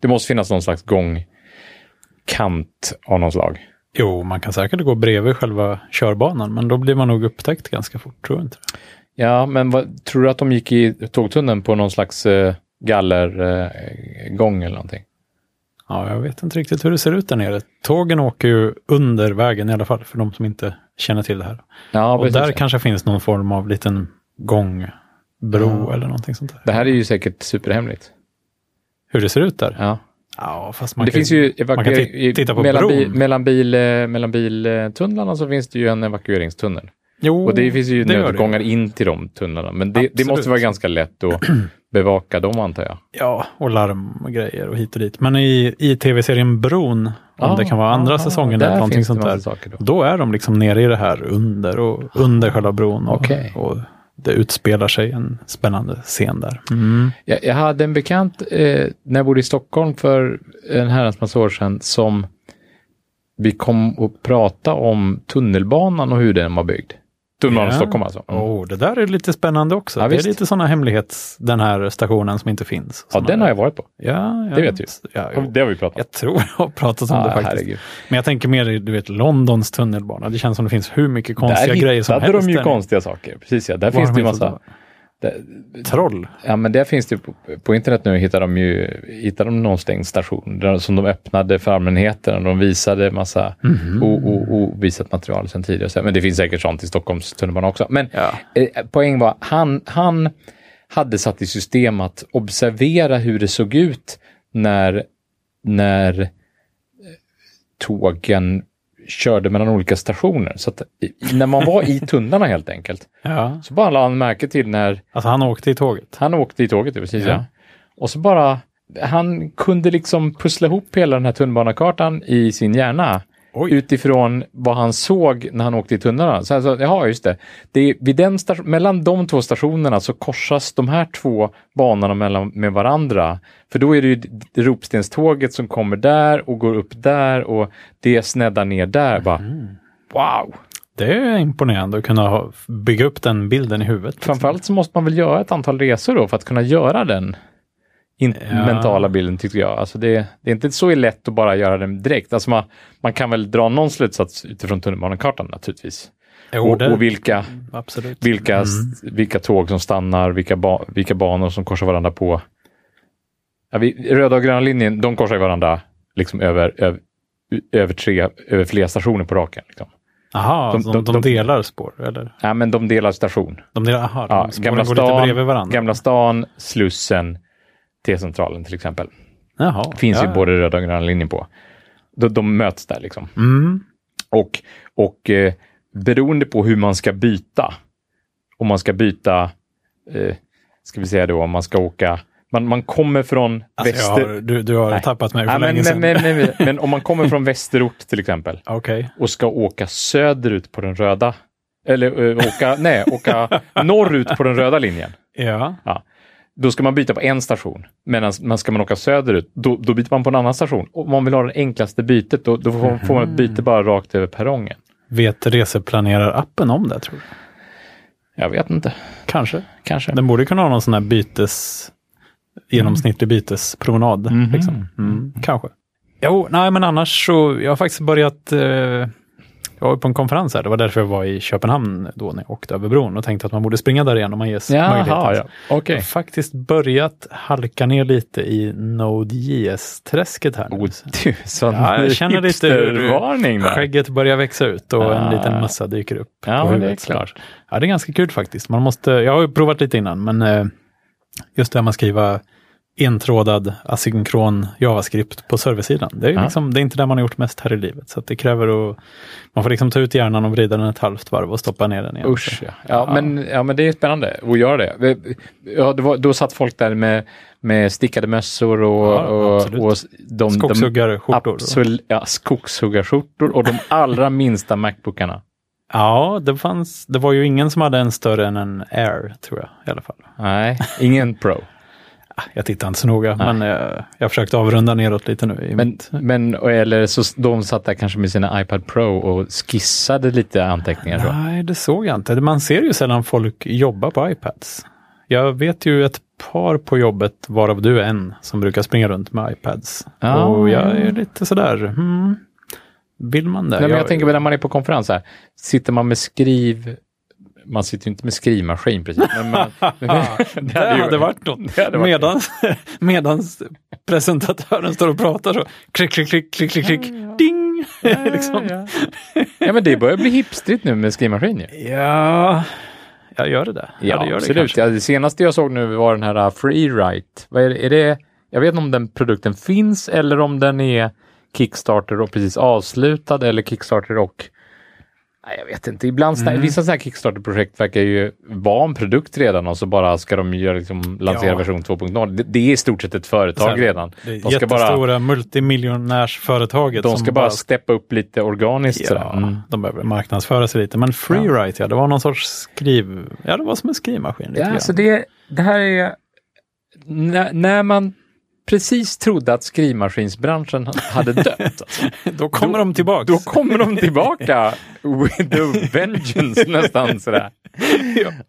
S2: Det måste finnas någon slags gångkant av någon slag.
S1: Jo, man kan säkert gå bredvid själva körbanan, men då blir man nog upptäckt ganska fort, tror jag inte.
S2: Ja, men vad, tror du att de gick i tågtunneln på någon slags eh, gallergång eh, gång eller någonting?
S1: Ja, jag vet inte riktigt hur det ser ut där nere. Tågen åker ju under vägen i alla fall, för de som inte känner till det här.
S2: Ja,
S1: Och där kanske finns någon form av liten gångbro eller någonting sånt där.
S2: Det här är ju säkert superhemligt.
S1: Hur det ser ut där?
S2: Ja.
S1: Ja, fast man
S2: det
S1: kan,
S2: finns ju
S1: man kan
S2: evakuering...
S1: ti- titta på
S2: mellan,
S1: bron.
S2: bi, mellan, bil, eh, mellan biltunnlarna så finns det ju en evakueringstunnel.
S1: Jo,
S2: Och det finns ju
S1: Oh, det gör det.
S2: nödgångar in till de tunnlarna. Men det, det
S1: Absolut.
S2: måste vara ganska lätt att bevaka dem antar jag.
S1: Ja, och larm och grejer och hit och dit. Men i, i tv-serien Bron, om det kan vara andra
S2: Ah,
S1: säsongen
S2: där
S1: eller någonting
S2: finns det
S1: sånt
S2: massa
S1: där,
S2: Saker då.
S1: då är de liksom nere i det här under och under själva bron. Och,
S2: Okej.
S1: och det utspelar sig en spännande scen där.
S2: Jag, jag hade en bekant eh, när jag bodde i Stockholm för en herrans massa år sedan som vi kom och pratade om tunnelbanan och hur den var byggd. Tunnelbanan i
S1: Ja.
S2: Stockholm alltså. Mm.
S1: Oh, det där är lite spännande också.
S2: Ja,
S1: det är
S2: visst.
S1: lite sådana hemlighets, den här stationen som inte finns.
S2: ja, den har jag varit på.
S1: Ja, ja,
S2: det vet jag.
S1: Ja, jo.
S2: Det har vi pratat om.
S1: Jag tror jag har pratat om det
S2: Ah,
S1: faktiskt.
S2: herregud.
S1: Men jag tänker mer i, du vet, Londons tunnelbana. Det känns som det finns hur mycket konstiga
S2: Där
S1: grejer som
S2: hittade
S1: helst.
S2: de ju
S1: där.
S2: konstiga saker. Precis ja, där
S1: Var
S2: finns
S1: har
S2: det ju
S1: de hittat
S2: massa. Där,
S1: Troll.
S2: ja, men där finns det ju på, på internet nu hittar de ju hittar de någon stängd station där, som de öppnade för allmänheten och de visade massa o- o- ovisat material sedan tidigare. Så- Men det finns säkert sånt i Stockholms tunnelbana också. Men eh, poäng var, han, han hade satt i system att observera hur det såg ut när, när eh, tågen körde mellan olika stationer. Så att, i- när man var i tunnlarna helt enkelt,
S1: Ja.
S2: så bara la han märke till när
S1: Alltså han åkte i tåget.
S2: han åkte i tåget, ja, precis ja.
S1: Ja.
S2: Och så bara, han kunde liksom pussla ihop hela den här tunnelbanekartan i sin hjärna.
S1: Oj.
S2: Utifrån vad han såg när han åkte i tunnlarna. Så han sa, jaha, just det. det är vid den station- mellan de två stationerna så korsas de här två banorna mellan, med varandra. För då är det ju d- d- Ropstenståget som kommer där och går upp där och det sneddar ner där. Bara, Wow!
S1: Det är imponerande att kunna ha, bygga upp den bilden i huvudet. liksom.
S2: Framförallt så måste man väl göra ett antal resor då för att kunna göra den in-
S1: Ja.
S2: mentala bilden tycker jag. Alltså det, det är inte så lätt att bara göra den direkt. Alltså man, man kan väl dra någon slutsats utifrån tunnelbanekartan naturligtvis.
S1: Jo,
S2: Och,
S1: det,
S2: och vilka,
S1: absolut. Mm.
S2: vilka, s- vilka tåg som stannar, vilka, ba, vilka banor som korsar varandra på. Ja, vi, röda och gröna linjen, de korsar ju varandra liksom över, över, över, tre, över flera stationer på raken. Liksom.
S1: Aha,
S2: de-
S1: de, de,
S2: de-
S1: delar spår? Eller?
S2: Ja, men de delar station.
S1: De delar, aha,
S2: Ja,
S1: de spåren
S2: Gamla
S1: går lite
S2: stan,
S1: bredvid varandra?
S2: Gamla stan, Slussen, T-centralen till exempel.
S1: Jaha,
S2: Finns
S1: ja.
S2: ju både röda och gröna linjen på. De, de möts där liksom.
S1: Mm.
S2: Och, och eh, beroende på hur man ska byta, om man ska byta, eh, ska vi säga då, om man ska åka, man, man kommer från
S1: Alltså, jag
S2: väster...
S1: har, du, du har
S2: Nej.
S1: tappat mig för
S2: Ja, men,
S1: länge
S2: men,
S1: sedan.
S2: men, men, men om man kommer från västerort till exempel
S1: Okej.
S2: och ska åka söderut på den röda, eller eh, åka, nej, åka norrut på den röda linjen.
S1: Ja.
S2: Då ska man byta på en station. Medan man ska man åka söderut, då, då byter man på en annan station. Och om man vill ha det enklaste bytet, då, då får, får man
S1: Mhm.
S2: ett byte bara rakt över perrongen.
S1: Vet reseplanerarappen om det, tror du?
S2: Jag vet inte,
S1: Kanske.
S2: kanske.
S1: Den borde kunna ha någon sån här bytes, genomsnittlig bytespromenad.
S2: Mhm.
S1: Liksom. Mm, kanske. Jo, nej men annars så, jag har faktiskt börjat, eh, jag var på en konferens här, det var därför jag var i Köpenhamn då när jag åkte över bron och tänkte att man borde springa där igen om man ges
S2: Jaha,
S1: möjlighet.
S2: ja. okej.
S1: Jag har faktiskt börjat halka ner lite i Node.js-träsket här nu.
S2: Oh, du, sån
S1: Ja, jag känner lite hur-
S2: varning där.
S1: Skägget börjar växa ut och
S2: Ah.
S1: en liten massa dyker upp.
S2: Ja,
S1: på
S2: men det är
S1: huvudet
S2: klart.
S1: såklart. Ja, det är ganska kul faktiskt. Man måste, jag har ju provat lite innan, men eh, just det här med att skriva entrådad asynkron JavaScript på serversidan. Det är, ju
S2: Ja.
S1: liksom, det är inte det man har gjort mest här i livet. Så att det kräver att man får liksom ta ut hjärnan och vrida den ett halvt varv och stoppa ner den igen.
S2: Usch, ja. Ja, men, ja, men det är spännande att göra det. Ja, det var, då satt folk där med, med stickade mössor och,
S1: Ja, absolut.
S2: och, och de, de
S1: Skogshuggarskjortor.
S2: absolut, ja, skogshuggarskjortor och de allra minsta Macbookarna.
S1: Ja, det, fanns, det var ju ingen som hade en större än en Air, tror jag i alla fall.
S2: Nej, ingen Pro.
S1: Jag tittar inte så noga, men eh, jag försökte avrunda neråt lite nu. I
S2: Men,
S1: mitt,
S2: men eller så s- de satt där kanske med sina iPad Pro och skissade lite anteckningar. Så.
S1: Nej, det såg jag inte. Man ser ju sällan folk jobba på iPads. Jag vet ju ett par på jobbet, varav du är en, som brukar springa runt med iPads.
S2: Ah,
S1: och
S2: ja.
S1: jag är lite sådär, hmm, vill man det?
S2: Nej, men jag tänker på när man är på konferens här, sitter man med skriv... Man sitter ju inte med skrivmaskin precis, men man,
S1: det hade, varit något.
S2: det hade varit
S1: Medan, medans presentatören står och pratar så, klick, klick, klick, klick, klick, klick, ding! liksom.
S2: Ja, ja, men det börjar bli hipstrigt nu med skrivmaskin ju.
S1: Ja, jag gör det där. Ja, det gör det
S2: absolut.
S1: kanske.
S2: Det, ja, det senaste jag såg nu var den här Freerite. Vad är, det- är det, jag vet inte om den produkten finns eller om den är Kickstarter och precis avslutad eller Kickstarter och Nej, jag vet inte. Ibland
S1: Mm.
S2: såna- Vissa sådana här Kickstarter-projekt verkar ju vara en produkt redan och så bara ska de göra, liksom, lansera
S1: Ja.
S2: version 2.0. Det, det är i stort sett ett företag
S1: Så här,
S2: redan.
S1: Det
S2: De ska
S1: jättestora
S2: bara,
S1: multimiljonärsföretaget.
S2: de
S1: som
S2: ska bara steppa upp lite organiskt.
S1: Ja,
S2: sådär. Mm.
S1: De behöver marknadsföra sig lite. Men Freerite, ja, det var någon sorts skriv... Ja, det var som en skrivmaskin. Lite
S2: Ja,
S1: grann.
S2: alltså det, det här är... När, när man precis trodde att skrivmaskinsbranschen hade dött, alltså,
S1: då kommer
S2: då-
S1: de tillbaka.
S2: då kommer de tillbaka with a vengeance nästan sådär.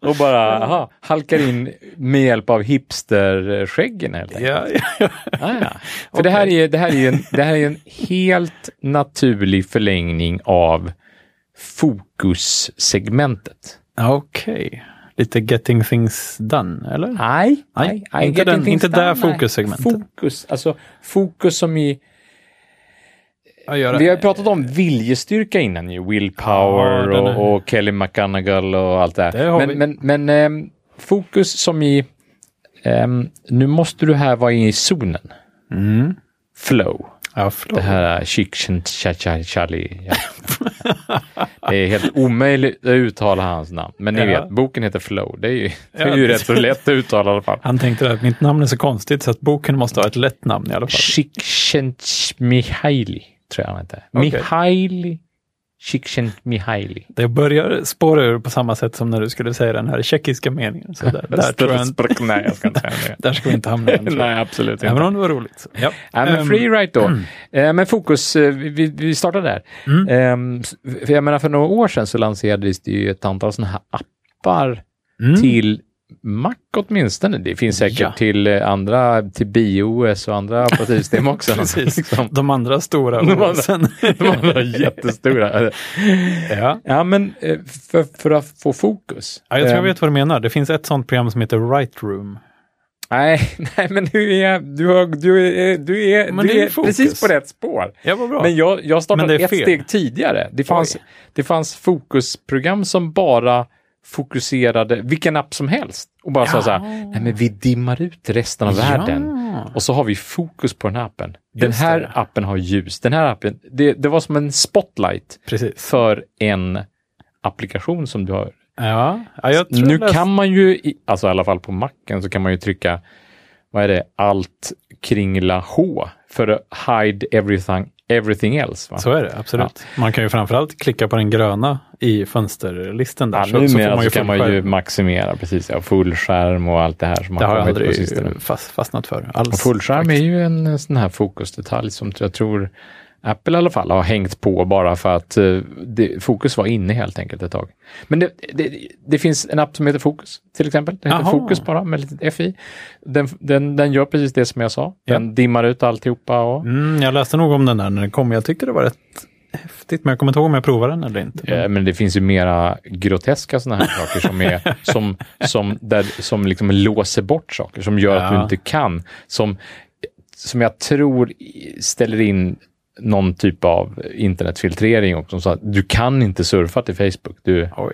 S2: Och bara aha, halkar in med hjälp av hipsterskäggen helt enkelt.
S1: ja, ja, ja.
S2: Ah, ja. För det här är, det här är, ju en, det här är en helt naturlig förlängning av fokussegmentet.
S1: Ja, Okej. Lite getting things done, eller?
S2: Nej,
S1: Nej,
S2: nej,
S1: inte
S2: getting
S1: den-
S2: things
S1: inte där
S2: done, nej.
S1: fokussegmentet.
S2: Fokus, alltså fokus som i...
S1: Ja, göra-
S2: Vi har ju pratat om viljestyrka innan ju,
S1: Ja,
S2: willpower
S1: den är-
S2: och, och Kelly McGonagall och allt det här.
S1: Det har
S2: men
S1: vi.
S2: men, men ehm, fokus som i... ehm, nu måste du här vara i zonen.
S1: Mm.
S2: Flow.
S1: Ja, förlåt.
S2: Det här chicken cha cha chali. ja. Det är helt omöjligt att uttala hans namn. Men ni
S1: Ja.
S2: vet, boken heter Flow. Det är ju, det är
S1: Ja,
S2: ju rätt
S1: precis.
S2: så lätt att uttala i alla fall.
S1: Han tänkte att mitt namn är så konstigt så att boken måste ha ett lätt namn i alla fall.
S2: Shikshent Mihaili, tror jag han hette.
S1: Okej.
S2: Mihaili. Shikshent Mihaili.
S1: Det börjar spåra ur på samma sätt som när du skulle säga den här tjeckiska meningen. Så där, där, tror jag, inte-
S2: Störtspråk- Nej, jag ska inte säga
S1: där ska vi inte hamna än,
S2: det.
S1: tror jag.
S2: Nej, absolut
S1: Även
S2: inte.
S1: om det var roligt. Ja.
S2: Ja, men
S1: Ehm,
S2: free right då. Eh, Men fokus, eh, vi- vi, vi startar där.
S1: Mm.
S2: Ehm, s- För jag menar, för några år sedan så lanserades det ju ett antal sådana här appar
S1: mm.
S2: till Mac åtminstone. Det finns säkert
S1: Ja.
S2: till eh, andra, till BOS och andra operativsystem också.
S1: Precis.
S2: Liksom.
S1: De andra stora
S2: De andra-
S1: oasen.
S2: De andra jättestora.
S1: ja.
S2: Ja, men eh, för, för att få fokus.
S1: Ja, jag tror jag
S2: Eh,
S1: vet vad du menar. Det finns ett sånt program som heter Right Room.
S2: Nej, nej men du är, du har, du är, eh, du är,
S1: Men
S2: du
S1: det är
S2: är,
S1: fokus.
S2: precis på rätt spår.
S1: Ja, vad bra.
S2: Men jag, jag
S1: Men
S2: startade
S1: det är
S2: ett
S1: fel.
S2: steg tidigare. Det fanns,
S1: Oj.
S2: det fanns fokusprogram som bara fokuserade vilken app som helst och bara sa
S1: Ja.
S2: så här, nej men vi dimmar ut resten av världen
S1: Ja.
S2: och så har vi fokus på den här appen. Den
S1: Just
S2: här
S1: det.
S2: appen har ljus, den här appen, det, det var som en spotlight
S1: Precis.
S2: för en applikation som du har
S1: Ja. Ja, jag tror
S2: nu
S1: jag läste-
S2: kan man ju, i- alltså i alla fall på macken, så kan man ju trycka, vad är det, allt kringla H för att hide everything, everything else. Va?
S1: Så är det, absolut. Man kan ju framförallt klicka på den gröna i fönsterlisten där.
S2: ja,
S1: så, så får
S2: numera
S1: man
S2: så,
S1: ju full
S2: kan man ju
S1: skärm.
S2: maximera, precis, ja, fullskärm och allt det här som
S1: Det har jag
S2: kommit på
S1: aldrig
S2: sistone.
S1: fast, fastnat för alls.
S2: Fullskärm är ju en eh, sån här fokusdetalj som jag tror Apple i alla fall har hängt på bara för att eh, det, fokus var inne helt enkelt ett tag. Men det, det, det finns en app som heter Fokus till exempel. Den heter
S1: Aha.
S2: Fokus bara med litet FI. Den, den, den gör precis det som jag sa. Den dimmar ut alltihopa. Och,
S1: Mm, jag läste nog om den där när den kom. Jag tyckte det var rätt häftigt, men jag kommer inte ihåg om jag provade den eller inte.
S2: eh, Men det finns ju mera groteska sådana här saker som, är, som, som, där, som liksom låser bort saker, som gör att du
S1: Ja.
S2: inte kan. Som, som jag tror i- ställer in någon typ av internetfiltrering också. Så att du kan inte surfa till Facebook. Du,
S1: Oj.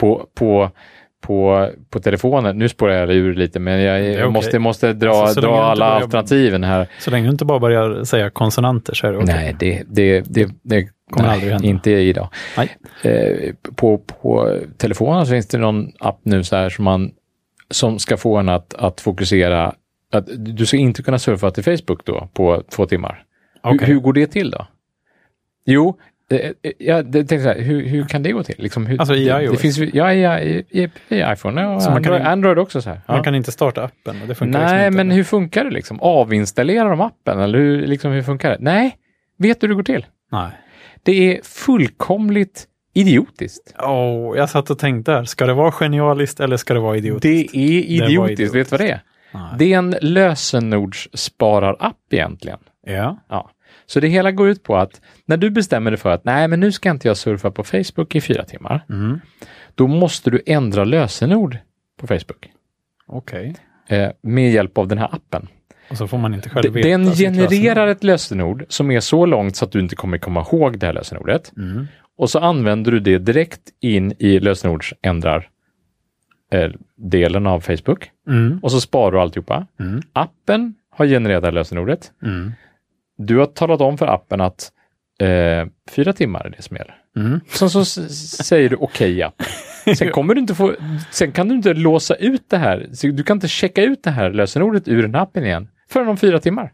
S2: på, på, på, på telefonen, nu spårar jag ur lite, men jag, jag
S1: är okej.
S2: måste, måste dra,
S1: Alltså, så länge
S2: dra
S1: du inte
S2: alla
S1: börjar-
S2: alternativen här.
S1: Så länge du inte bara börjar säga konsonanter så är det okej.
S2: Nej, det, det, det, det
S1: Kommer
S2: nej,
S1: aldrig hända.
S2: Inte idag.
S1: Nej.
S2: Eh, på, på telefonen så finns det någon app nu så här som, man, som ska få en att, att fokusera. Att du ska inte kunna surfa till Facebook då på två timmar.
S1: Okej.
S2: Hur, hur går det till då? Jo, eh, eh, jag tänkte så här, hur, hur kan det gå till? Liksom, hur,
S1: Alltså i
S2: det, det
S1: iOS?
S2: finns, ju- ja, ja, i, i, i iPhone och
S1: Så man kan
S2: Android,
S1: in-
S2: Android också. Så här. Ja.
S1: Man kan inte starta appen. och Det funkar
S2: Nej,
S1: liksom
S2: men
S1: inte.
S2: hur funkar det? liksom? Avinstallerar de appen? Eller hur, liksom, hur funkar det? Nej, vet du hur det går till?
S1: Nej.
S2: Det är fullkomligt idiotiskt.
S1: Åh, jag satt och tänkte här, ska det vara genialiskt eller ska det vara idiotiskt?
S2: Det är idiotiskt.
S1: idiotiskt.
S2: Vet du vad det är?
S1: Nej.
S2: Det är en lösenordssparar-app egentligen.
S1: Ja.
S2: Ja. Så det hela går ut på att när du bestämmer dig för att nej, men nu ska inte jag surfa på Facebook i fyra timmar.
S1: Mm.
S2: Då måste du ändra lösenord på Facebook
S1: Okej.
S2: eh, med hjälp av den här appen.
S1: Och så får man inte själv
S2: D-
S1: veta.
S2: Den
S1: sitt
S2: genererar ett lösenord som är så långt så att du inte kommer komma ihåg det här lösenordet.
S1: lösenord. Mm.
S2: Och så använder du det direkt in i lösenordsändrar eh, delen av Facebook.
S1: Mm.
S2: Och så sparar du alltihopa.
S1: Mm.
S2: Appen har genererat det här lösenordet.
S1: Mm.
S2: Du har talat om för appen att eh, eh, fyra timmar är det som gäller.
S1: Mm.
S2: Sen så s- s- säger du okej appen. Sen kommer du inte få, sen kan du inte låsa ut det här. Så Du kan inte checka ut det här lösenordet ur den här appen igen förrän om fyra timmar.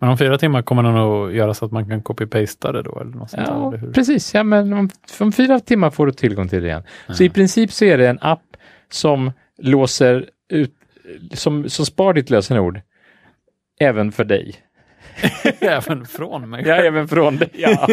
S1: Men om fyra timmar kommer den att göra så att man kan copy-pasta det då? Eller något sånt där,
S2: Ja,
S1: eller hur?
S2: precis. Ja, men om, om fyra timmar får du tillgång till det igen. Så i princip så är det en app som låser ut, som, som sparar ditt lösenord även för dig.
S1: Även från mig.
S2: Ja, även från dig. Ja.
S1: Det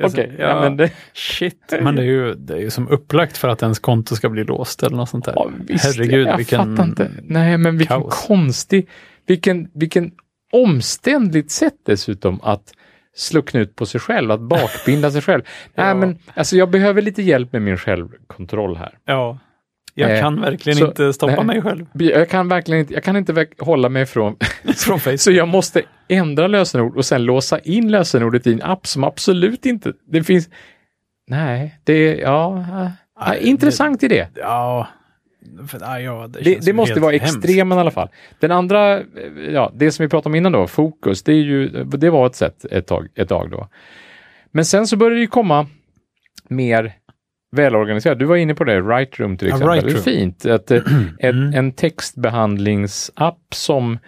S1: är
S2: Okej,
S1: så-
S2: ja.
S1: ja.
S2: men det,
S1: Shit, men det är, ju, det är ju som upplagt för att ens konto ska bli låst eller något sånt där.
S2: ja, visst,
S1: Herregud,
S2: jag
S1: vilken-
S2: fattar inte. Nej, men vilken
S1: kaos.
S2: konstig, vilken, vilken omständligt sätt dessutom att slå knut på sig själv, att bakbinda sig själv. Nej,
S1: Ja.
S2: men alltså jag behöver lite hjälp med min självkontroll här.
S1: Ja. Jag
S2: Eh,
S1: kan verkligen
S2: så-
S1: inte stoppa
S2: nej.
S1: mig själv
S2: Jag kan verkligen inte, jag kan inte verk- hålla mig från,
S1: från Facebook.
S2: så jag måste ändra lösenord och sen låsa in lösenordet i en app som absolut inte, det finns, nej, det, ja, ja,
S1: Nej, det-
S2: intressant idé.
S1: Ja, för, ja, ja, det,
S2: Det,
S1: känns
S2: det
S1: ju
S2: måste
S1: helt
S2: vara
S1: hemskt.
S2: extremen i alla fall. Den andra, eh, ja, det som vi pratade om innan då, fokus, det, är ju, det var ett sätt ett tag, ett tag då. Men sen så började det ju komma mer välorganiserat. Du var inne på det, Right Room till
S1: Ja,
S2: exempel.
S1: Write
S2: det är
S1: Room.
S2: fint. Att, eh,
S1: Mm.
S2: ett, en textbehandlingsapp som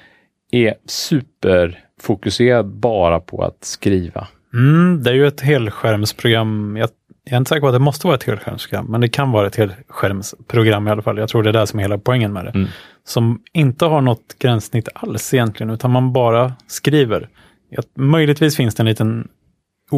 S2: är superfokuserad bara på att skriva.
S1: Mm, det är ju ett helskärmsprogram. Jag, jag är inte säker på att det måste vara ett helskärmsprogram, men det kan vara ett helskärmsprogram i alla fall. Jag tror det är det som är hela poängen med det.
S2: Mm.
S1: Som inte har något gränssnitt alls egentligen, utan man bara skriver. Jag, möjligtvis finns det en liten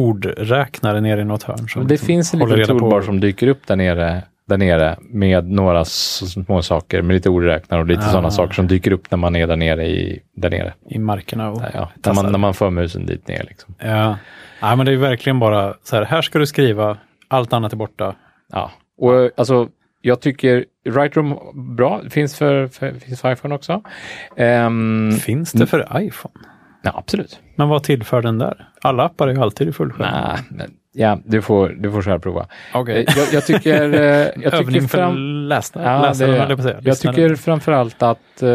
S1: ordräknare nere i något hörn. Som
S2: det
S1: liksom
S2: finns en
S1: håller
S2: liten
S1: reda på-
S2: toolbar som dyker upp där nere, där nere med några s- små saker, med lite ordräknare och lite
S1: Ah.
S2: sådana saker som dyker upp när man är där nere. I, där nere.
S1: i markerna. Och,
S2: Ja, när,
S1: tassar.
S2: man, när man för musen dit ner. Liksom.
S1: Ja. Nej, men det är verkligen bara så här, här ska du skriva, allt annat är borta.
S2: Ja. Och, eh, alltså, jag tycker Rightroom bra, finns för, för, finns för iPhone också. Ehm,
S1: Finns det för iPhone?
S2: ja, absolut.
S1: Men vad tillför den där? Alla appar är ju alltid i fullskärm.
S2: Nah, men, ja, du får, du får själv prova.
S1: Okej.
S2: Eh, Jag, jag tycker... eh, Jag tycker
S1: Övning för
S2: fram-
S1: läsna,
S2: Ja,
S1: läsaren,
S2: det-
S1: höll jag på att säga.
S2: Jag
S1: Lyssnaren.
S2: tycker framförallt att eh,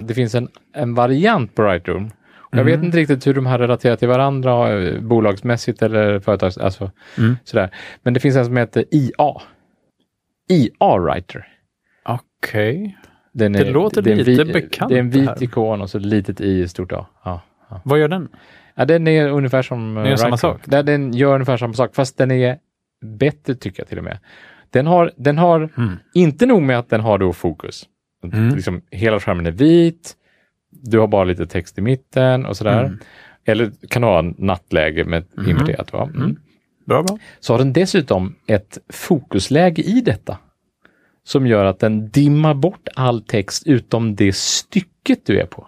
S2: det finns en, en variant på Rightroom. Jag
S1: Mm.
S2: vet inte riktigt hur de här relaterar till varandra, eh, bolagsmässigt eller företags... Alltså,
S1: Mm.
S2: sådär. Men det finns en som heter IA. IA Writer.
S1: Okej.
S2: Den
S1: Det låter
S2: är en
S1: lite
S2: vit-
S1: bekant,
S2: Det är en
S1: det
S2: vit
S1: här.
S2: ikon och så ett litet i och ett stort A. Ja. Ja.
S1: Vad gör den?
S2: Ja, den är ungefär som... eh,
S1: Den gör samma
S2: Rightroom.
S1: sak.
S2: Ja, den gör ungefär samma sak, fast den är bättre tycker jag till och med. Den har, den har
S1: Mm.
S2: inte nog med att den har då fokus.
S1: Mm.
S2: Liksom, hela skärmen är vit, du har bara lite text i mitten och sådär.
S1: Mm.
S2: Eller kan du ha nattläge med
S1: Mhm.
S2: inverterat. Va? Mm.
S1: Mm. Bra, bra.
S2: Så har den dessutom ett fokusläge i detta som gör att den dimmar bort all text utom det stycket du är på.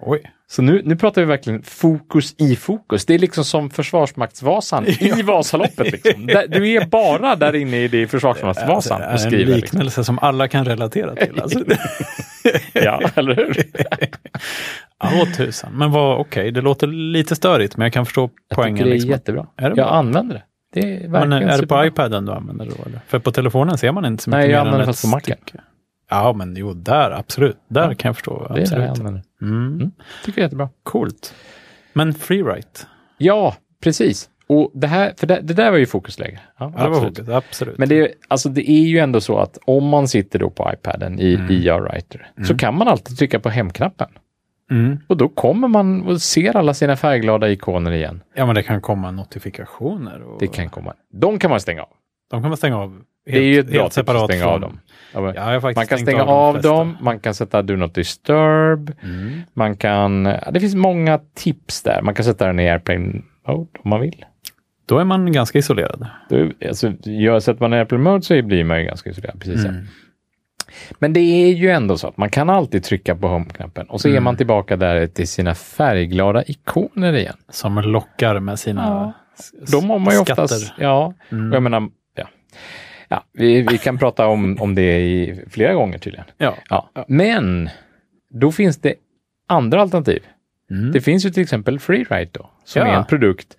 S1: Oj.
S2: Så nu, nu pratar vi verkligen fokus i fokus. Det är liksom som Försvarsmaktsvasan i Vasaloppet. Liksom. Där, du är bara där inne i det i Försvarsmaktsvasan
S1: det
S2: och
S1: är en
S2: skriver. Liksom.
S1: liknelse som alla kan relatera till. Alltså,
S2: Ja, eller hur?
S1: ja, åh tusan. Men vad, okej, det låter lite störigt, men jag kan förstå
S2: Jag
S1: poängen.
S2: tycker det är
S1: liksom.
S2: jättebra.
S1: Är det
S2: jag
S1: bra?
S2: använder det. Det är verkligen
S1: Men eh, är det på
S2: superbra.
S1: iPaden du använder då? Eller? För på telefonen ser man inte så mycket
S2: Nej,
S1: mer
S2: jag
S1: än
S2: använder
S1: ett
S2: fast på Macen.
S1: stycke. Ja, men jo, där absolut. Där
S2: Ja.
S1: kan jag förstå.
S2: Det är det jag
S1: Absolut.
S2: använder.
S1: Mm.
S2: Tycker jag är jättebra.
S1: Coolt. Men freeride?
S2: Ja, precis. Och det här, för det, det där var ju fokusläge. Ja,
S1: Ja, det var
S2: absolut.
S1: roligt. Absolut.
S2: Men det, är- alltså det är ju ändå så att om man sitter då på iPaden i IA-writer så kan man alltid trycka på hemknappen.
S1: Mm.
S2: Och då kommer man och ser alla sina färgglada ikoner igen.
S1: Ja, men det kan komma notifikationer. Och
S2: Det kan komma. De kan man stänga av.
S1: De kan man stänga av. Helt,
S2: det är ju ett bra
S1: helt
S2: tips att
S1: separat
S2: stänga
S1: från-
S2: av dem. Ja, men-
S1: Ja, jag har faktiskt
S2: Man kan
S1: stängt
S2: stänga av
S1: de
S2: dem, man kan sätta Do Not Disturb,
S1: Mm.
S2: man kan... ja, Det finns många tips där. Man kan sätta den i Airplane Mode om man vill.
S1: Då är man ganska isolerad.
S2: Då, alltså, gör, sätter man i Airplane Mode så blir man ju ganska isolerad. Precis
S1: Mm.
S2: ja. Men det är ju ändå så att man kan alltid trycka på Home-knappen och så
S1: Mm.
S2: är man tillbaka där till sina färgglada ikoner igen.
S1: Som lockar med sina s-
S2: De har man ju
S1: skatter.
S2: oftast... Ja,
S1: Mm.
S2: och jag menar... Ja. Ja, vi, vi kan prata om, om det i flera gånger tydligen.
S1: Ja.
S2: Ja. Men då finns det andra alternativ.
S1: Mm.
S2: Det finns ju till exempel FreeWrite då, som
S1: Ja.
S2: är en produkt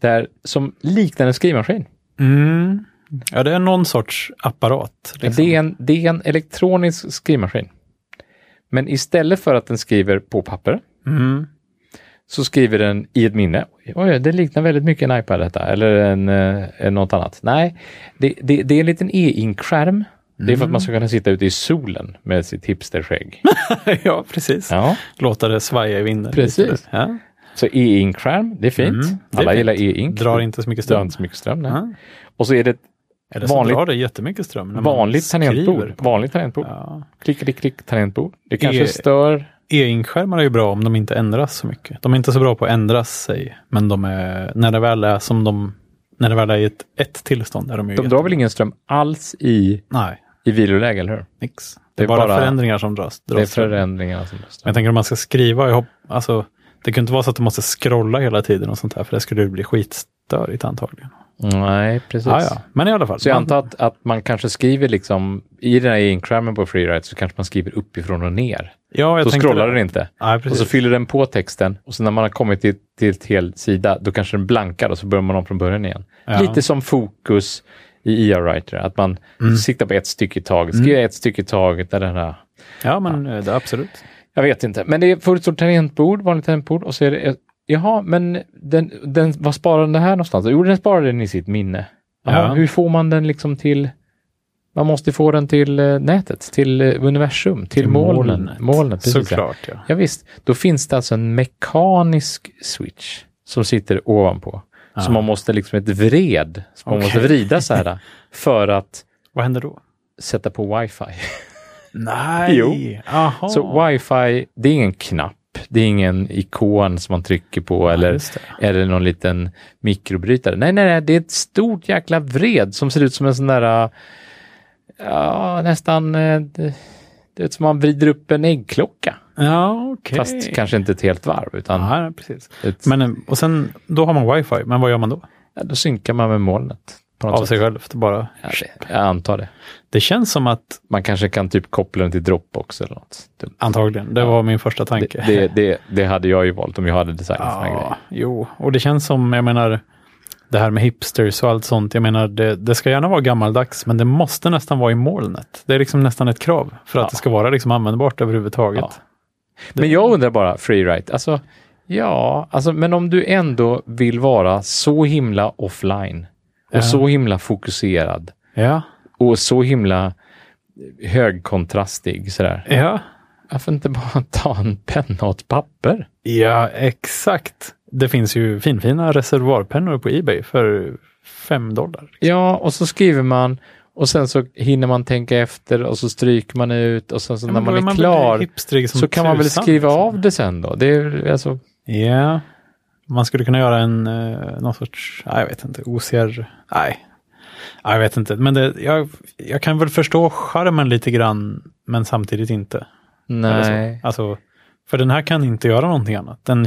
S2: där, som liknar en skrivmaskin.
S1: Mm. ja, det är någon sorts apparat. liksom.
S2: Det, är en, det är en elektronisk skrivmaskin. Men istället för att den skriver på papper
S1: Mm.
S2: så skriver den i ett minne. Oj, det liknar väldigt mycket en iPad detta, eller en, eh, något annat. Nej, det, det, det är en liten e-ink-skärm. Det är för att
S1: Mm.
S2: man ska kunna sitta ute i solen med sitt hipsterskägg.
S1: ja, precis.
S2: Ja.
S1: Låta det svaja i vinden. lite
S2: Precis.
S1: där. Ja.
S2: Så e-ink-skärm, det är fint.
S1: Mm, det är
S2: Alla
S1: fint.
S2: gillar e-ink.
S1: Drar inte så mycket
S2: Det drar
S1: ström.
S2: inte så mycket ström. Nej.
S1: Ja.
S2: Och så är det ett
S1: Eller så
S2: vanligt,
S1: drar det jättemycket ström. När man
S2: vanligt tangentbord.
S1: skriver.
S2: Vanligt tangentbord.
S1: Ja.
S2: Klick, klick, klick, tangentbord. Det kanske
S1: E-
S2: stör.
S1: E-inkskärmar är ju bra om de inte ändras så mycket. De är inte så bra på att ändras sig, men de är, när det väl är som de, när det väl är i ett, ett tillstånd är de ju
S2: De
S1: jättebra.
S2: drar väl ingen ström alls i,
S1: Nej,
S2: i viloläge, eller hur?
S1: nix. Det,
S2: Det
S1: är
S2: är
S1: bara,
S2: bara-
S1: förändringar som dras.
S2: Det är
S1: dras men
S2: förändringarna som
S1: jag
S2: stör.
S1: tänker om man ska skriva, jag hopp, alltså, det kan ju inte vara så att du måste scrolla hela tiden och sånt där, för det skulle ju bli skitstörigt antagligen.
S2: Nej, precis.
S1: Ja, ja. Men i alla fall.
S2: Ah, Så jag
S1: man-
S2: antar att, att man kanske skriver liksom, i den här e-ink-skärmen på FreeWrite så kanske man skriver uppifrån och ner.
S1: ja, jag
S2: Då
S1: tänkte
S2: scrollar
S1: det.
S2: den inte.
S1: Nej, precis.
S2: Och så fyller den på texten och sen när man har kommit till, till ett hel sida, då kanske den blankar och så börjar man om från början igen.
S1: Ja.
S2: Lite som fokus i ER-writer, att man
S1: Mm.
S2: siktar på ett stycke i taget, skriver ett stycke i taget. Där den här.
S1: ja, men eh, det, absolut.
S2: Jag vet inte, men det är fullt stort tangentbord, vanligt tangentbord och så är det, ett- jaha, men den, den, vad sparar den det här någonstans? Jo, den sparar den i sitt minne. Jaha,
S1: Ja.
S2: Hur får man den liksom till, man måste få den till eh, nätet, till eh, universum, till, molnen. Molnet, precis, ja.
S1: Såklart, ja.
S2: Ja visst, då finns det alltså en mekanisk switch som sitter ovanpå. Så man måste liksom ett vred, så man
S1: Okej.
S2: måste vrida så här för att
S1: Vad händer då?
S2: sätta på wifi.
S1: Nej!
S2: Jo.
S1: Aha.
S2: Så wifi, det är ingen knapp, det är ingen ikon som man trycker på eller,
S1: just
S2: eller någon liten mikrobrytare. Nej, nej, nej, det är ett stort jäkla vred som ser ut som en sån där, äh, ja, nästan, äh, det, det är som man vrider upp en äggklocka.
S1: Ja, okej.
S2: Fast kanske inte ett helt varv, utan
S1: Ja, precis.
S2: ett,
S1: Men, eh, och sen, då har man wifi, men vad gör man då?
S2: Ja, då synkar man med molnet. På något
S1: Av
S2: sätt.
S1: sig själv, bara.
S2: Ja, det, jag antar det.
S1: Det känns som att,
S2: Man kanske kan typ koppla den till Dropbox eller något. Dumt.
S1: antagligen, det var min första tanke.
S2: Det, det, det, det hade jag ju valt om jag hade designat såna grejer.
S1: ja, jo, och det känns som, jag menar, det här med hipsters och allt sånt, jag menar, det, det ska gärna vara gammaldags, men det måste nästan vara i molnet. Det är liksom nästan ett krav för att det ska vara liksom användbart överhuvudtaget.
S2: Ja. Men jag undrar bara, freeride, alltså ja, alltså, men om du ändå vill vara så himla offline och så himla fokuserad
S1: Ja,
S2: och så himla högkontrastig sådär.
S1: ja.
S2: Varför inte bara ta en penna och ett papper?
S1: Ja, exakt. Det finns ju finfina reservoarpennor på Ebay för fem dollar.
S2: Ja, och så skriver man och sen så hinner man tänka efter och så stryker man ut och sen så när
S1: Men då
S2: man är
S1: väl
S2: klar
S1: hipstrig som
S2: så kan man väl
S1: tusan,
S2: skriva
S1: liksom.
S2: av det sen då. Det är alltså,
S1: Ja. Man skulle kunna göra en, eh, någon sorts, nej, jag vet inte, OCR, nej. Nej, Jag vet inte, men det, jag, jag kan väl förstå charmen lite grann, men samtidigt inte. Eller så.
S2: nej.
S1: Alltså, för den här kan inte göra någonting annat. Den,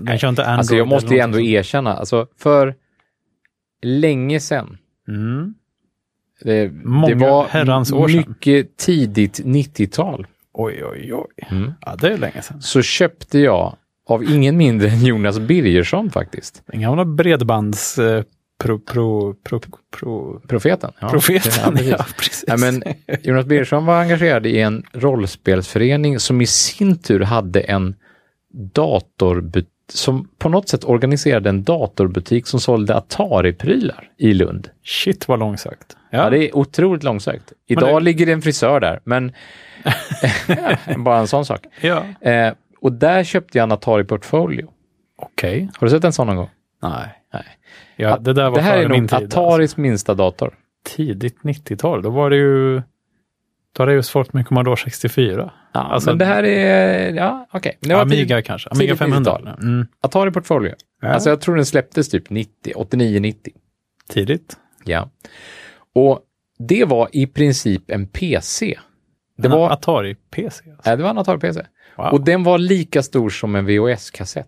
S1: den kör inte Android.
S2: Alltså jag måste ju
S1: eller
S2: ändå
S1: någonting
S2: erkänna, alltså för länge sedan,
S1: sånt. Mm.
S2: det, det
S1: Många
S2: var
S1: herrans år sedan.
S2: mycket tidigt 90-tal,
S1: Oj, oj, oj.
S2: Mm.
S1: Ja, det är länge sedan.
S2: så köpte jag av ingen mindre än Jonas Birgersson faktiskt,
S1: Den gamla bredbands... Eh, pro, pro, pro, pro,
S2: profeten. Ja. Ja,
S1: profeten.
S2: precis.
S1: Ja, precis.
S2: Nej, men Jonas Birgersson var engagerad i en rollspelsförening som i sin tur hade en datorbutik som på något sätt organiserade en datorbutik som sålde Atari-prylar i Lund.
S1: Shit vad långsökt.
S2: Ja,
S1: Ja,
S2: det är otroligt långsökt.
S1: Men
S2: Idag
S1: det-
S2: ligger det en frisör där, men bara en sån sak.
S1: ja.
S2: Eh, och där köpte jag en Atari Portfolio.
S1: Okej.
S2: Har du sett en sån någon gång?
S1: Nej. Ja, det där var
S2: det här
S1: före
S2: är
S1: min
S2: nog
S1: tid. alltså.
S2: Ataris minsta dator.
S1: Tidigt 90-tal, då var det ju... Då hade jag just fått min Commodore 64.
S2: Ja,
S1: Alltså-
S2: men det här är, ja okej. Det var tid-
S1: Amiga kanske. Amiga
S2: tidigt
S1: 500.
S2: 90-tal.
S1: Mm.
S2: Atari Portfolio.
S1: Ja.
S2: Alltså jag tror den släpptes typ 90, 89, 90.
S1: Tidigt.
S2: Ja. Och det var i princip en PC. Det
S1: En
S2: var,
S1: Atari-PC. Alltså.
S2: nej, det var en Atari-PC.
S1: Wow.
S2: Och den var lika stor som en VHS-kassett.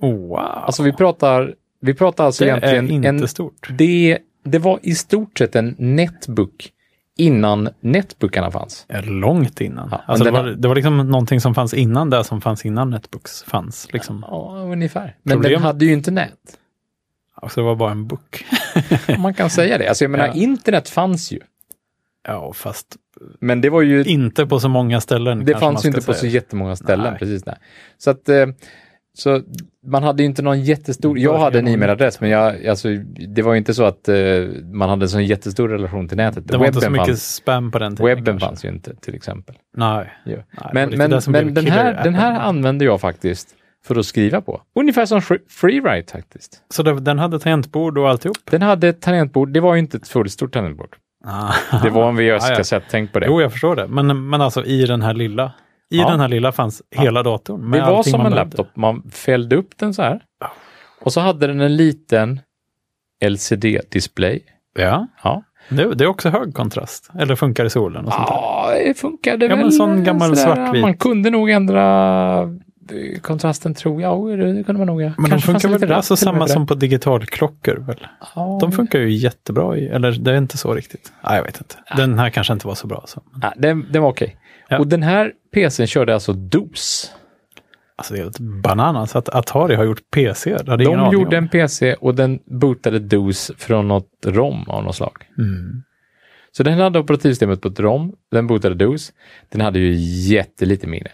S1: Oh, wow. Alltså,
S2: Alltså vi pratar, vi pratar alltså
S1: det är
S2: egentligen
S1: inte
S2: en,
S1: stort.
S2: det, det var i stort sett en netbook innan netbookarna fanns.
S1: Ja, Långt innan.
S2: Ja, men
S1: alltså, det,
S2: den
S1: var,
S2: har-
S1: det var liksom någonting som fanns innan det som fanns innan Netbooks fanns. Liksom.
S2: Ja, ungefär. Men den
S1: Problem-
S2: hade ju inte nät.
S1: Alltså, det var bara en book.
S2: Om Man kan säga det. Alltså jag menar,
S1: Ja.
S2: internet fanns ju.
S1: ja, fast
S2: Men det var ju
S1: inte på så många ställen.
S2: Det
S1: kanske man
S2: fanns ju
S1: ska
S2: inte på så
S1: säga.
S2: jättemånga ställen.
S1: Nej.
S2: Precis, nej. Så att, eh, Så man hade ju inte någon jättestor, jag
S1: Början
S2: hade en
S1: av-
S2: e-mailadress men jag, alltså, det var ju inte så att eh, man hade en sån jättestor relation till nätet.
S1: Det var inte så mycket
S2: fanns,
S1: spam på den tiden.
S2: webben
S1: kanske.
S2: fanns ju inte till exempel.
S1: Nej.
S2: Ja.
S1: Nej, det var
S2: Men,
S1: lite
S2: men,
S1: det som
S2: men
S1: blev
S2: den, här,
S1: killer-appen.
S2: den här använde jag faktiskt för att skriva på. Ungefär som Fre- Freeride faktiskt.
S1: Så det, den hade tangentbord och alltihop?
S2: Den hade ett tangentbord, det var ju inte ett fullstort tangentbord. Det var en VHS-kassett, tänk på det.
S1: Jo, jag förstår det. Men, men alltså i den här lilla. I
S2: Ja.
S1: den här lilla fanns hela datorn.
S2: det
S1: med
S2: var
S1: allting
S2: som
S1: man
S2: en
S1: behövde.
S2: laptop, man fällde upp den så här. Och så hade den en liten LCD-display.
S1: Ja,
S2: Ja.
S1: det, det är också hög kontrast. Eller funkar i solen och sånt där.
S2: Ja, Ah, det funkade
S1: Ja, men
S2: väl.
S1: sån gammal
S2: sådär.
S1: svartvit.
S2: Man kunde nog ändra eh, kontrasten tror jag. Jo, det kunde man nog göra.
S1: Men de
S2: Kanske fanns
S1: funkar
S2: det
S1: väl
S2: lite
S1: alltså
S2: ratt till och
S1: samma
S2: med
S1: som på digitalklockor? Väl?
S2: där. Ja.
S1: De funkar ju jättebra i, eller det är inte så riktigt. Nej, jag vet inte. Den här kanske inte var så bra. Så.
S2: Ja, den, den var okej.
S1: Ja.
S2: Och den här PCn körde alltså DOS.
S1: Alltså det är ett bananas att Atari har gjort PC. Det hade jag ingen
S2: De
S1: aning
S2: gjorde
S1: om.
S2: en PC och den bootade DOS från något ROM av något slag.
S1: Mm.
S2: Så den hade operativsystemet på ett ROM, den bootade DOS. Den hade ju jättelite minne.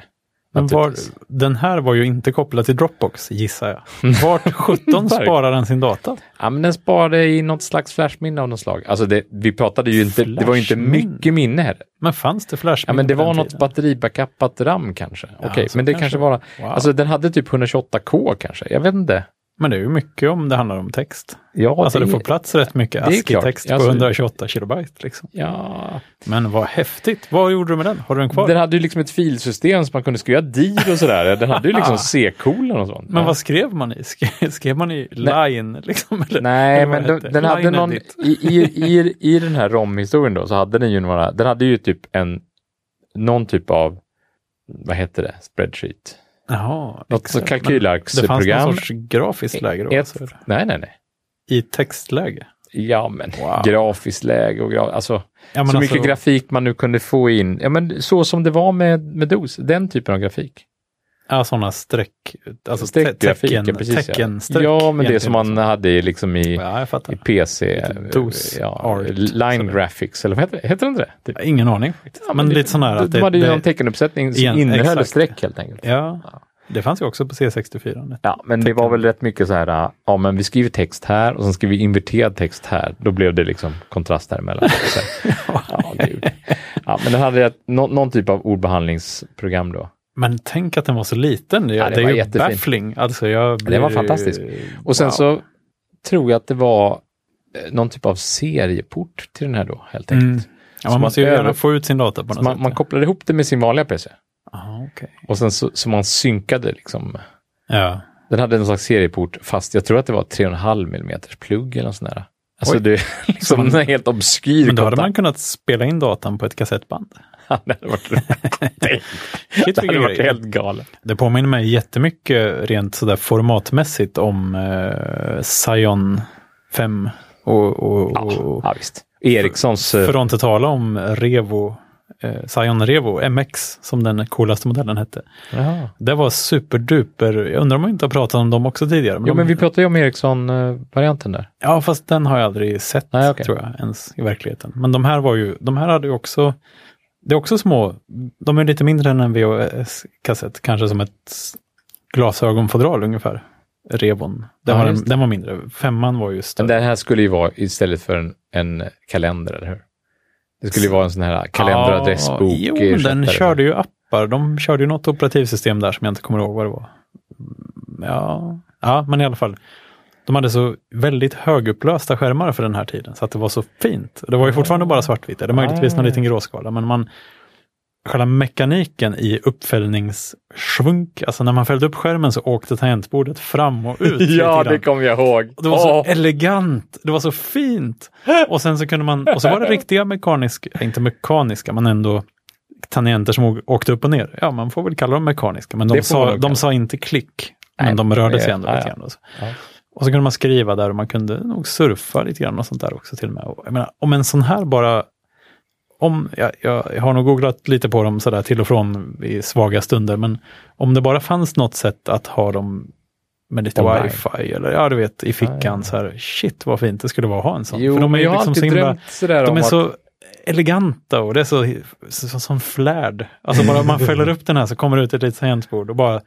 S1: Men var,
S2: naturligtvis.
S1: den här var ju inte kopplad till Dropbox, gissar jag. Vart 17 sparar den sin data?
S2: Ja, men den sparade i något slags flashminne av något slag. Alltså det, vi pratade ju inte, det var ju inte
S1: Flashminne?
S2: mycket minne här.
S1: Men fanns det flash?
S2: Ja, men det var något batteribackupat RAM kanske. Okej,
S1: så
S2: men det
S1: kanske.
S2: kanske var...
S1: Wow.
S2: Alltså den hade typ 128K kanske. Jag vet inte.
S1: Men det är ju mycket om det handlar om text.
S2: Ja,
S1: Alltså det,
S2: det-
S1: får plats rätt mycket
S2: det är klart.
S1: ASCII-text på
S2: Alltså-
S1: 128 kilobyte. Liksom.
S2: Ja.
S1: Men vad häftigt. Vad gjorde du med den? Har du den kvar?
S2: Den hade ju liksom ett filsystem som man kunde skriva dir och sådär. Den hade ju liksom C-kolon och sånt.
S1: Men
S2: Ja.
S1: vad skrev man i? Skrev, skrev man i line? Liksom, eller,
S2: Nej,
S1: eller vad
S2: men den,
S1: hette det?
S2: den hade
S1: Line
S2: någon... I,
S1: edit.
S2: i, i, I den här ROM-historien då så hade den ju några... Den hade ju typ en... Någon typ av... Vad heter det? Spreadsheet.
S1: Jaha,
S2: Något
S1: Excel.
S2: sånt
S1: Men Det fanns
S2: kalkylarksprogram.
S1: någon sorts grafiskt läge då?
S2: Ett-
S1: Alltså, eller?
S2: Nej, nej, nej.
S1: I textläge?
S2: Ja, men
S1: Wow.
S2: grafiskt läge och gra... alltså...
S1: Ja, men
S2: så
S1: alltså-
S2: mycket grafik man nu kunde få in. Ja, men så som det var med, med DOS, den typen av grafik.
S1: Ja, sådana streck, alltså te-
S2: Streckgrafik,
S1: tecken,
S2: ja, precis. ja.
S1: teckenstreck.
S2: ja, men det som
S1: egentligen.
S2: man hade liksom i,
S1: Ja, jag
S2: i
S1: fattar.
S2: PC.
S1: typ DOS
S2: ja,
S1: art,
S2: line
S1: sådär.
S2: graphics, eller vad heter det? Heter det inte det? Typ.
S1: Jag har Ingen aning. faktiskt. men
S2: det-
S1: lite sån här att
S2: De
S1: det,
S2: hade ju någon
S1: det,
S2: teckenuppsättning som
S1: igen,
S2: innehöll
S1: exakt.
S2: streck helt enkelt.
S1: ja, det fanns ju också på C64.
S2: Ja, men det var väl rätt mycket så här, ja men vi skriver text här och sen skriver vi inverterad text här. Då blev det liksom kontrast däremellan. Så här. ja, det gjorde- ja, men den hade ett- nå- någon typ av ordbehandlingsprogram då.
S1: Men tänk att den var så liten. Det,
S2: Ja, det
S1: det,
S2: var
S1: är ju
S2: jättefin.
S1: baffling. Alltså, jag blir,
S2: var fantastisk. Och sen
S1: Wow.
S2: så tror jag att det var eh, någon typ av serieport till den här då, helt enkelt.
S1: Mm. Ja,
S2: Så
S1: man måste ju
S2: man-
S1: gärna få ut sin data på
S2: Så
S1: något
S2: man,
S1: sätt.
S2: man kopplade ihop det med sin vanliga PC.
S1: Aha, okej.
S2: Och sen så, så man synkade liksom.
S1: ja.
S2: Den hade någon slags serieport, fast jag tror att det var 3,5 mm plugg eller något sånt där. Alltså
S1: Oj.
S2: det är liksom en helt obskyr
S1: Men då hade
S2: kontakt.
S1: man kunnat spela in datan på ett kassettband.
S2: det hade varit, det
S1: Shit,
S2: hade
S1: vilken
S2: varit
S1: grej.
S2: helt galet.
S1: Det påminner mig jättemycket rent sådär formatmässigt om eh, Scion 5 och, och, och
S2: Ja, visst. Ericssons... eh,
S1: Oh. för att inte tala om Revo, eh, Scion Revo MX som den coolaste modellen hette.
S2: Jaha.
S1: Det var superduper, jag undrar om jag inte har pratat om dem också tidigare.
S2: Jo,
S1: de,
S2: men vi pratade ju om Ericsson-varianten där.
S1: Ja, fast den har jag aldrig sett
S2: Nej, okej.
S1: tror jag ens i verkligheten. Men de här var ju, de här hade ju också, det är också små, de är lite mindre än en VHS-kassett, kanske som ett glasögonfodral ungefär. Revon, den,
S2: Ja,
S1: var,
S2: just
S1: den, den var mindre. Femman var ju
S2: Men
S1: större.
S2: den här skulle ju vara istället för en, en kalender, eller hur? Det skulle ju vara en sån här kalenderadressbok.
S1: Ja, Jo, men den körde ju appar. De körde ju något operativsystem där som jag inte kommer ihåg vad det var. Mm, Ja, ja men i alla fall. De hade så väldigt högupplösta skärmar för den här tiden, så att det var så fint. Det var ju fortfarande bara svartvitt, eller möjligtvis
S2: Ah.
S1: någon liten gråskala, men man själva mekaniken i uppfällningssvunk, alltså när man fällde upp skärmen så åkte tangentbordet fram och ut. lite
S2: Ja,
S1: grann.
S2: det kommer jag ihåg.
S1: Och Det var så
S2: Åh,
S1: elegant, det var så fint. Och sen så kunde man, och så var det riktiga mekaniska, inte mekaniska, men ändå tangenter som å- åkte upp och ner. Ja, man får väl kalla dem mekaniska, men de,
S2: Det får man
S1: sa,
S2: nog
S1: de
S2: kalla.
S1: sa inte klick,
S2: Nej,
S1: men de rörde
S2: det-
S1: sig ändå
S2: ja,
S1: lite
S2: ja.
S1: grann. Och så.
S2: Ja.
S1: och så kunde man skriva där och man kunde nog surfa lite grann och sånt där också till och med. Och jag menar, om en sån här bara om, jag, jag, jag har nog googlat lite på dem sådär till och från i svaga stunder, men om det bara fanns något sätt att ha dem med lite
S2: Online.
S1: wifi eller ja, du vet i fickan
S2: Ja, ja.
S1: så här, shit vad fint det skulle vara att ha en sån.
S2: Jo,
S1: För de är
S2: men
S1: ju
S2: jag har
S1: liksom så
S2: alltid
S1: himla,
S2: drömt sådär
S1: de
S2: om
S1: är
S2: att...
S1: så eleganta och det är så, så, så som flärd. Alltså bara man fäller upp den här så kommer det ut ett litet tangentbord och bara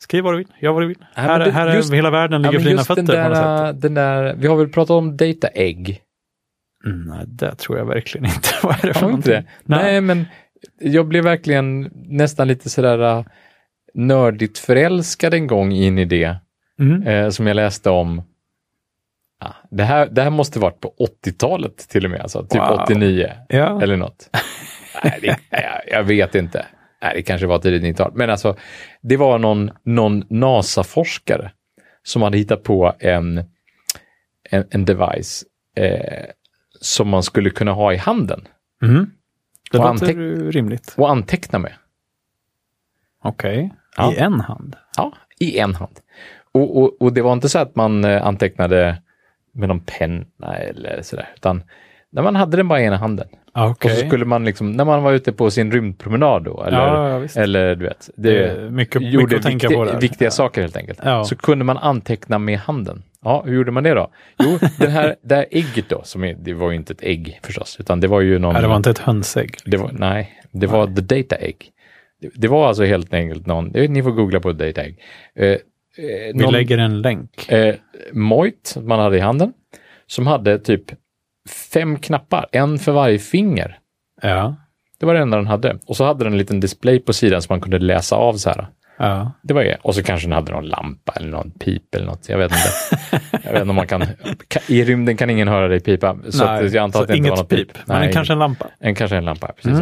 S1: Skriv vad du vill, gör vad du vill.
S2: Ja, men
S1: här
S2: det-
S1: här är
S2: just-
S1: hela världen ligger
S2: men
S1: för dina
S2: just
S1: fötter.
S2: den
S1: på något sätt.
S2: där, äh, den där, vi har väl pratat om data egg?
S1: Mm, Nej, det tror jag verkligen inte. Vad är det för
S2: Har vi inte
S1: någonting?
S2: det? Nej. men jag blev verkligen nästan lite sådär äh, nördigt förälskad en gång in i det
S1: Mm.
S2: eh, som jag läste om. Ah, det, här, det här måste varit på 80-talet till och med, alltså, typ
S1: Wow.
S2: 89
S1: Ja.
S2: eller något. Nej, det, jag, jag vet inte. Nej, det kanske var tidigt 90-tal. Men alltså, det var någon, någon NASA-forskare som hade hittat på en, en, en device eh, som man skulle kunna ha i handen
S1: Mm. Det
S2: Och
S1: låter
S2: anteck-
S1: ju rimligt.
S2: och anteckna med.
S1: Okej,
S2: Ja.
S1: i en hand.
S2: Ja, i en hand. Och, och, och det var inte så att man eh, antecknade med någon penna eller sådär, utan när man hade den bara i ena handen.
S1: Ah, Okej.
S2: Och så skulle man liksom, när man var ute på sin rymdpromenad då, eller,
S1: ja, ja, visst.
S2: eller du vet,
S1: Det
S2: det
S1: är mycket,
S2: gjorde
S1: mycket att tänka
S2: vikti-
S1: på där.
S2: viktiga saker helt enkelt.
S1: Ja.
S2: Så kunde man anteckna med handen. Ja, hur gjorde man det då? Jo, den här, det här ägget då, som är, det var ju inte ett ägg förstås, utan det var ju någon...
S1: Nej, det var inte ett hönsägg.
S2: Det var, nej, det var the data egg. Det, det var alltså helt enkelt någon, det- ni får googla på data egg. Eh, eh,
S1: Vi
S2: någon
S1: lägger en länk.
S2: eh, mojt som man hade i handen, som hade typ fem knappar, en för varje finger.
S1: Ja.
S2: Det var det enda den hade. Och så hade den en liten display på sidan som man kunde läsa av så här.
S1: ja.
S2: Det var det. Och så kanske den hade någon lampa eller någon pip eller något. Jag vet inte. jag vet inte om man kan, kan... I rymden kan ingen höra dig pipa. Så att jag antar
S1: så
S2: att det inte
S1: inget
S2: var något pip.
S1: pip. Men
S2: Nej,
S1: kanske Mm. en lampa.
S2: en, kanske en lampa, precis.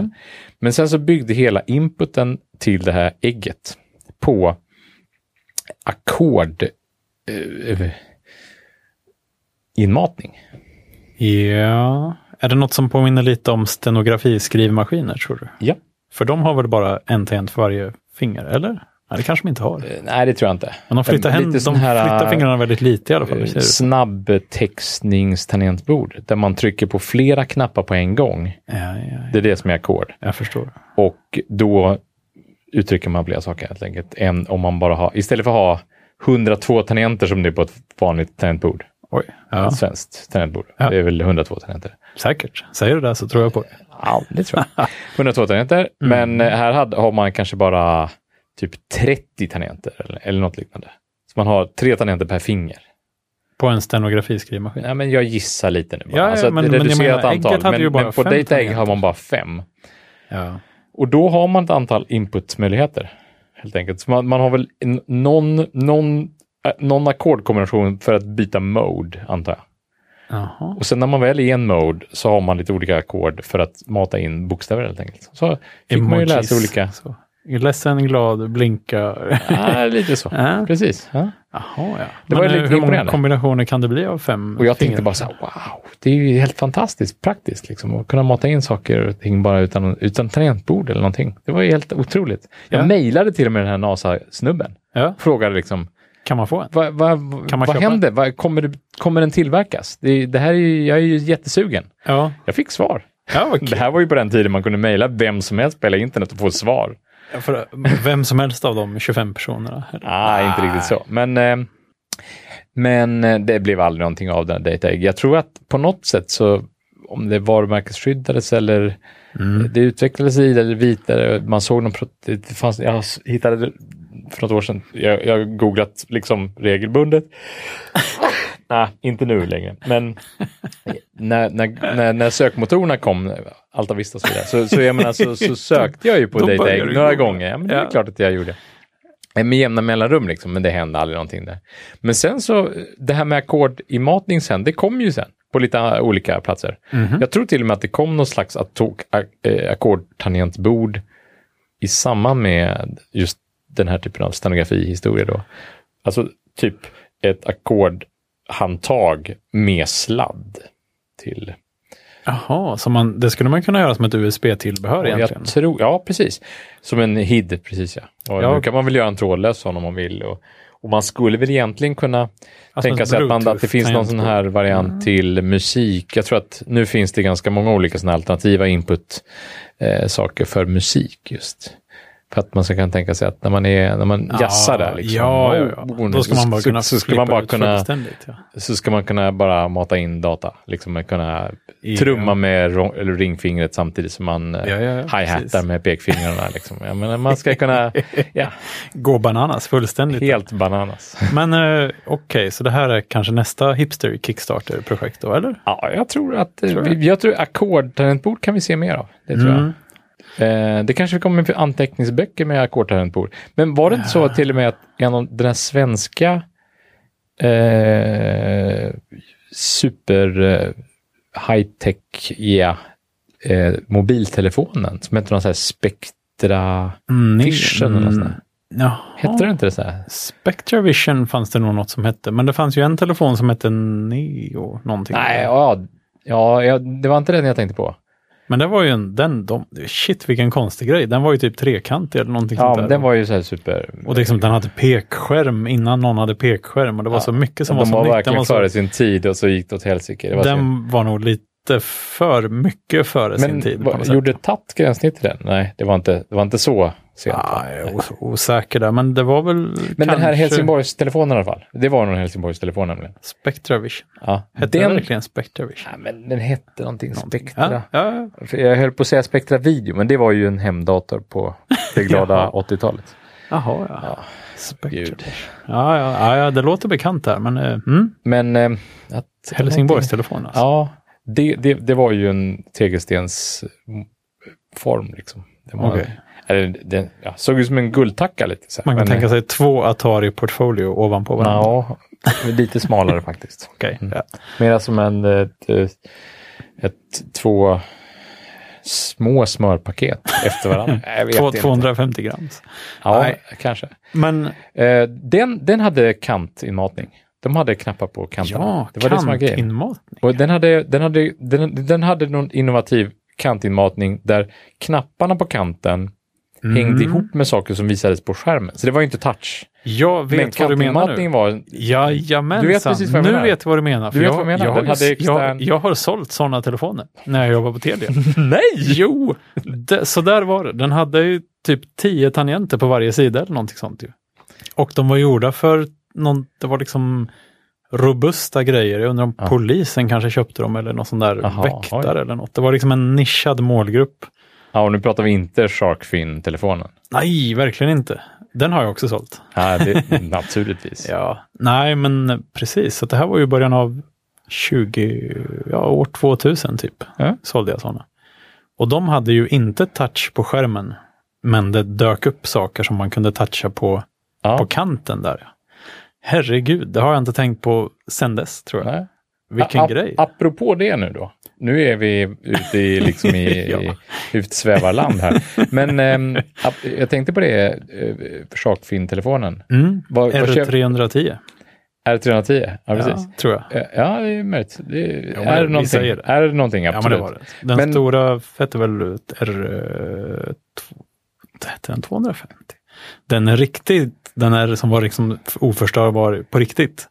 S2: Men sen så byggde hela inputen till det här ägget på ackord eh, eh, inmatning.
S1: Ja. Är det något som påminner lite om stenografiskrivmaskiner, tror du?
S2: Ja.
S1: För de har väl bara en tangent för varje finger, eller? Nej, det kanske de inte har.
S2: Eh, Nej, det tror jag inte.
S1: Men de flyttar,
S2: lite
S1: hem, de
S2: sån här, eh,
S1: flyttar fingrarna väldigt lite i alla fall. det ser ut.
S2: Snabbtextningstangentbord där man trycker på flera knappar på en gång.
S1: Ja, ja, ja,
S2: Det är det som är ackord.
S1: jag förstår.
S2: Och då uttrycker man flera saker helt enkelt. Än om man bara har, istället för att ha 102 tangenter som det är på ett vanligt tangentbord.
S1: Oj. Ja,
S2: Ett svenskt tangentbord.
S1: Ja.
S2: Det är väl 102 tangenter?
S1: säkert. Säger du det så tror jag på det.
S2: Ja, det tror jag. 102 tangenter,
S1: Mm.
S2: men eh, här hade, har man kanske bara typ 30 tangenter eller, eller något liknande. Så man har tre tangenter per finger.
S1: På en stenografiskrivmaskin.
S2: Ja, men jag gissar lite nu bara.
S1: Ja, ja,
S2: alltså,
S1: men-
S2: ett
S1: men jag
S2: reducerat
S1: menar,
S2: antal.
S1: ägget hade
S2: Men,
S1: ju bara
S2: men på
S1: fem
S2: data egg
S1: tangenter.
S2: har man bara fem.
S1: Ja.
S2: Och då har man ett antal inputmöjligheter. Helt enkelt. Så man, man har väl en, någon, någon, äh, någon ackordkombination för att byta mode, antar jag.
S1: Jaha.
S2: Och sen när man väl är i en mode så har man lite olika ackord för att mata in bokstäver helt enkelt. Så fick man ju läsa
S1: Emojis.
S2: olika.
S1: Så. Ledsen, glad, blinka.
S2: Ja, lite så.
S1: Ja.
S2: Precis. Ja.
S1: Jaha, ja.
S2: Det
S1: Men
S2: var
S1: eh,
S2: lite
S1: hur många
S2: imponerande.
S1: kombinationer kan det bli av fem
S2: Och jag
S1: fingrar?
S2: tänkte bara så här, wow, det är ju helt fantastiskt praktiskt liksom, att kunna mata in saker och ting bara utan, utan tangentbord eller någonting. Det var ju helt otroligt. Jag
S1: Ja.
S2: mejlade till och med den här NASA-snubben.
S1: Ja.
S2: Frågade liksom,
S1: Kan man få en?
S2: vad, vad,
S1: Kan man
S2: vad
S1: köpa
S2: händer? Vad, kommer, det, kommer den tillverkas? Det, är- det här är ju, jag är ju jättesugen.
S1: Ja.
S2: Jag fick svar.
S1: ja vad kul.
S2: Det här var ju på den tiden man kunde mejla vem som helst på hela internet och få svar.
S1: Ja, för, eh, vem som helst av de 25 personerna. eller?
S2: Ah, inte riktigt så. Men, eh, men eh, det blev aldrig någonting av den här Data Egg. Jag tror att på något sätt så, om det varumärkesskyddades eller
S1: Mm.
S2: det utvecklades vidare eller vidare, man såg någon, pro- det det fanns, jag hittade det för något år sedan, jag jag har googlat liksom regelbundet. Nej, inte nu längre, men när, när, när, när sökmotorerna kom, Alta Vista och så vidare, så, så, jag menar, så, så sökte jag ju på
S1: Då
S2: Data
S1: började
S2: Egg
S1: du
S2: några
S1: googla.
S2: gånger. Ja, men det är
S1: Ja.
S2: klart att jag gjorde. Eh, Med jämna mellanrum liksom, men det hände aldrig någonting där. Men sen så, eh, det här med ackordinmatning sen, det kom ju sen på lite eh, olika platser. Jag tror till och med att det kom någon slags atto- a- eh, ackordtangentbord i samband med just den här typen av stenografihistoria då. Alltså typ ett ackordhandtag med sladd till
S1: Jaha, så man, det skulle man kunna göra som ett USB-tillbehör
S2: Och
S1: egentligen.
S2: Jag tror, ja, precis. Som en HID, precis ja. Och
S1: Ja.
S2: Nu kan man väl göra en trådlös sån om man vill. Och, och man skulle väl egentligen kunna
S1: Alltså
S2: tänka
S1: ett
S2: sig att, man, att det
S1: Bluetooth
S2: finns någon sån här variant till musik. Jag tror att nu finns eh, det ganska många olika såna alternativa input-saker för musik just. För att man så kan tänka sig att när man, är, när man
S1: Ja,
S2: jazzar där, liksom,
S1: ja, ja, ja.
S2: oh,
S1: Då ska man bara
S2: så,
S1: kunna
S2: så, ska man
S1: flippa
S2: bara
S1: ut
S2: kunna,
S1: fullständigt. Ja.
S2: så ska man kunna bara mata in data. Liksom kunna
S1: Ja.
S2: trumma med ro- eller ringfingret samtidigt som man eh,
S1: Ja, ja, ja,
S2: hi-hatar
S1: precis.
S2: med pekfingrarna. Liksom. Jag menar, man ska kunna, ja,
S1: Gå bananas fullständigt.
S2: helt bananas.
S1: Men eh, okej, så det här är kanske nästa hipster Kickstarter-projekt då, eller?
S2: Ja, jag tror att, eh, vi- jag tror ackordtangentbord kan vi se mer av. Det tror jag.
S1: Mm.
S2: Eh, det kanske kommer anteckningsböcker med ackordtangentbord. Men var det inte
S1: Ah.
S2: så till och med att en av den här svenska eh, super eh, high-tech yeah, eh, mobiltelefonen som hette någon sån här Spectra
S1: Mm, ni-
S2: Vision eller något sånt där.
S1: Jaha.
S2: Hette det inte det så här?
S1: Spectra Vision fanns det nog något som hette, men det fanns ju en telefon som hette Neo någonting.
S2: Nej, ja, ja, ja, det var inte den jag tänkte på.
S1: Men det var ju en, den, de, shit vilken konstig grej, den var ju typ trekantig eller någonting
S2: Ja,
S1: sånt där.
S2: den var ju så här super...
S1: Och det är liksom, den hade pekskärm innan någon hade pekskärm och det var
S2: Ja,
S1: så mycket som var
S2: de
S1: så
S2: var
S1: nytt. Den
S2: verkligen
S1: var, så,
S2: före sin tid och så gick det åt helsike. Det var synd.
S1: den var nog lite för mycket före sin
S2: Men
S1: tid. på
S2: vad-
S1: något sätt.
S2: gjorde TAT gränssnitt till den? Nej, det var inte, det var inte så sent.
S1: Ja, jag är os- osäker där, men det var väl
S2: Men den här
S1: kanske
S2: Helsingborgs-telefonen i alla fall. Det var någon Helsingborgs-telefon nämligen.
S1: Spectra Vision.
S2: Ja.
S1: Hette den
S2: den,
S1: verkligen Spectra Vision?
S2: ja, men den hette någonting,
S1: Ja,
S2: Spectra.
S1: ja,
S2: För Jag höll på att säga Spectra Video, men det var ju en hemdator på det glada 80-talet.
S1: jaha, ja.
S2: Ja,
S1: Spectra.
S2: Gud.
S1: Ja, ja, ja, ja, det låter bekant här, men eh, mm,
S2: Men eh, att,
S1: Helsingborgs telefon alltså.
S2: Ja, det, det, det var ju en tegelstens mm, form liksom. Det var,
S1: Okej.
S2: eller, den, ja, såg ut som en guldtacka lite. Så här.
S1: Man kan
S2: Men,
S1: tänka sig två Atari Portfolio ovanpå varandra.
S2: Ja, Mm. lite smalare faktiskt.
S1: Okej, ja.
S2: Mera som en, ett, ett, två små smörpaket efter varandra. Jag vet
S1: Två-
S2: inte.
S1: 250 gram.
S2: Ja,
S1: Nej.
S2: kanske.
S1: Men
S2: Eh, Den, den hade kantinmatning. De hade knappar på kanterna.
S1: ja,
S2: det var det som var grejen.
S1: kantinmatning.
S2: Och den hade, den hade, den, den hade någon innovativ kantinmatning där knapparna på kanten
S1: Mm.
S2: hängde ihop med saker som visades på skärmen. Så det var ju inte touch.
S1: Jag
S2: Men
S1: vet vad du menar
S2: kantinmatning
S1: nu.
S2: var...
S1: Jajamensan,
S2: Du vet precis vad jag
S1: nu
S2: menar.
S1: vet jag vad du menar. för
S2: vet
S1: jag,
S2: vad jag menar.
S1: Jag,
S2: Den
S1: har ju-
S2: hade extern-
S1: jag, jag har sålt sådana telefoner när jag jobbade på Telia.
S2: Nej!
S1: jo, det, så där var det. Den hade ju typ 10 tangenter på varje sida eller någonting sånt. Ju. Och de var gjorda för, någon, det var liksom robusta grejer. Jag undrar om
S2: Ja.
S1: polisen kanske köpte dem eller någon sån där
S2: Aha,
S1: väktare eller något. Det var liksom en nischad målgrupp.
S2: Ja, och nu pratar vi inte Sharkfin-telefonen.
S1: Nej, verkligen inte. Den har jag också sålt.
S2: Ja, det, naturligtvis.
S1: Ja. Nej, men precis. Så det här var ju början av 20, ja, år 2000 typ.
S2: Ja.
S1: Sålde jag sådana. Och de hade ju inte touch på skärmen. Men det dök upp saker som man kunde toucha på,
S2: Ja.
S1: på kanten där. Herregud, det har jag inte tänkt på sen dess tror jag.
S2: Nej.
S1: Vilken
S2: A-
S1: grej.
S2: Apropå det nu då. Nu är vi ute i, liksom i,
S1: Ja.
S2: i utsvävarland här. Men ehm, ap- jag tänkte på det, eh, Sharkfin-telefonen.
S1: Mm.
S2: Vad- vad köp-
S1: R310,
S2: R310, ja precis.
S1: ja, tror jag.
S2: Eh, Ja, det är möjligt. Det,
S1: men
S2: är, det
S1: vi
S2: någonting,
S1: säger det.
S2: är det någonting,
S1: Ja, men det
S2: absolut.
S1: var det. Den
S2: Men-
S1: stora hette väl ut R... eh, Hette den 250? Den är riktigt, den är som var liksom oförstörbar på riktigt.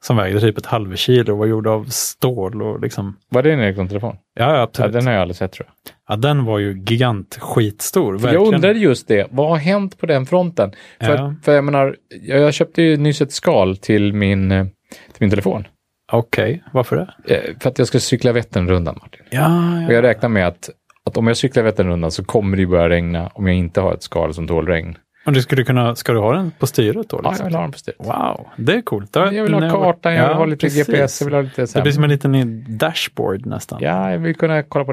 S1: Som vägde typ ett halvkilo och var gjord av stål och liksom.
S2: Var det en Ericsson-telefon?
S1: Ja, ja
S2: Ja,
S1: absolut. Ja,
S2: den har jag aldrig sett tror jag.
S1: den var ju gigant skitstor.
S2: För
S1: verkligen.
S2: Jag undrade just det, vad har hänt på den fronten? För,
S1: Ja.
S2: för jag menar, jag, jag köpte ju nyss ett skal till min, eh, till min telefon.
S1: Okej, varför det?
S2: Eh, För att jag ska cykla Vätternrundan, Martin.
S1: Ja, ja.
S2: Och jag räknar med att, att om jag cyklar Vätternrundan så kommer det ju börja regna om jag inte har ett skal som tål regn.
S1: Men du skulle kunna, ska du ha den på styret då?
S2: Ja, jag
S1: Liksom?
S2: vill ha den på styret.
S1: Wow, det är coolt. Det har-
S2: Jag vill ha
S1: när var-
S2: kartan, jag vill
S1: Ja,
S2: ha lite
S1: precis.
S2: GPS, jag vill ha lite så
S1: Det
S2: här.
S1: blir som en liten dashboard nästan.
S2: Ja, jag vill kunna kolla på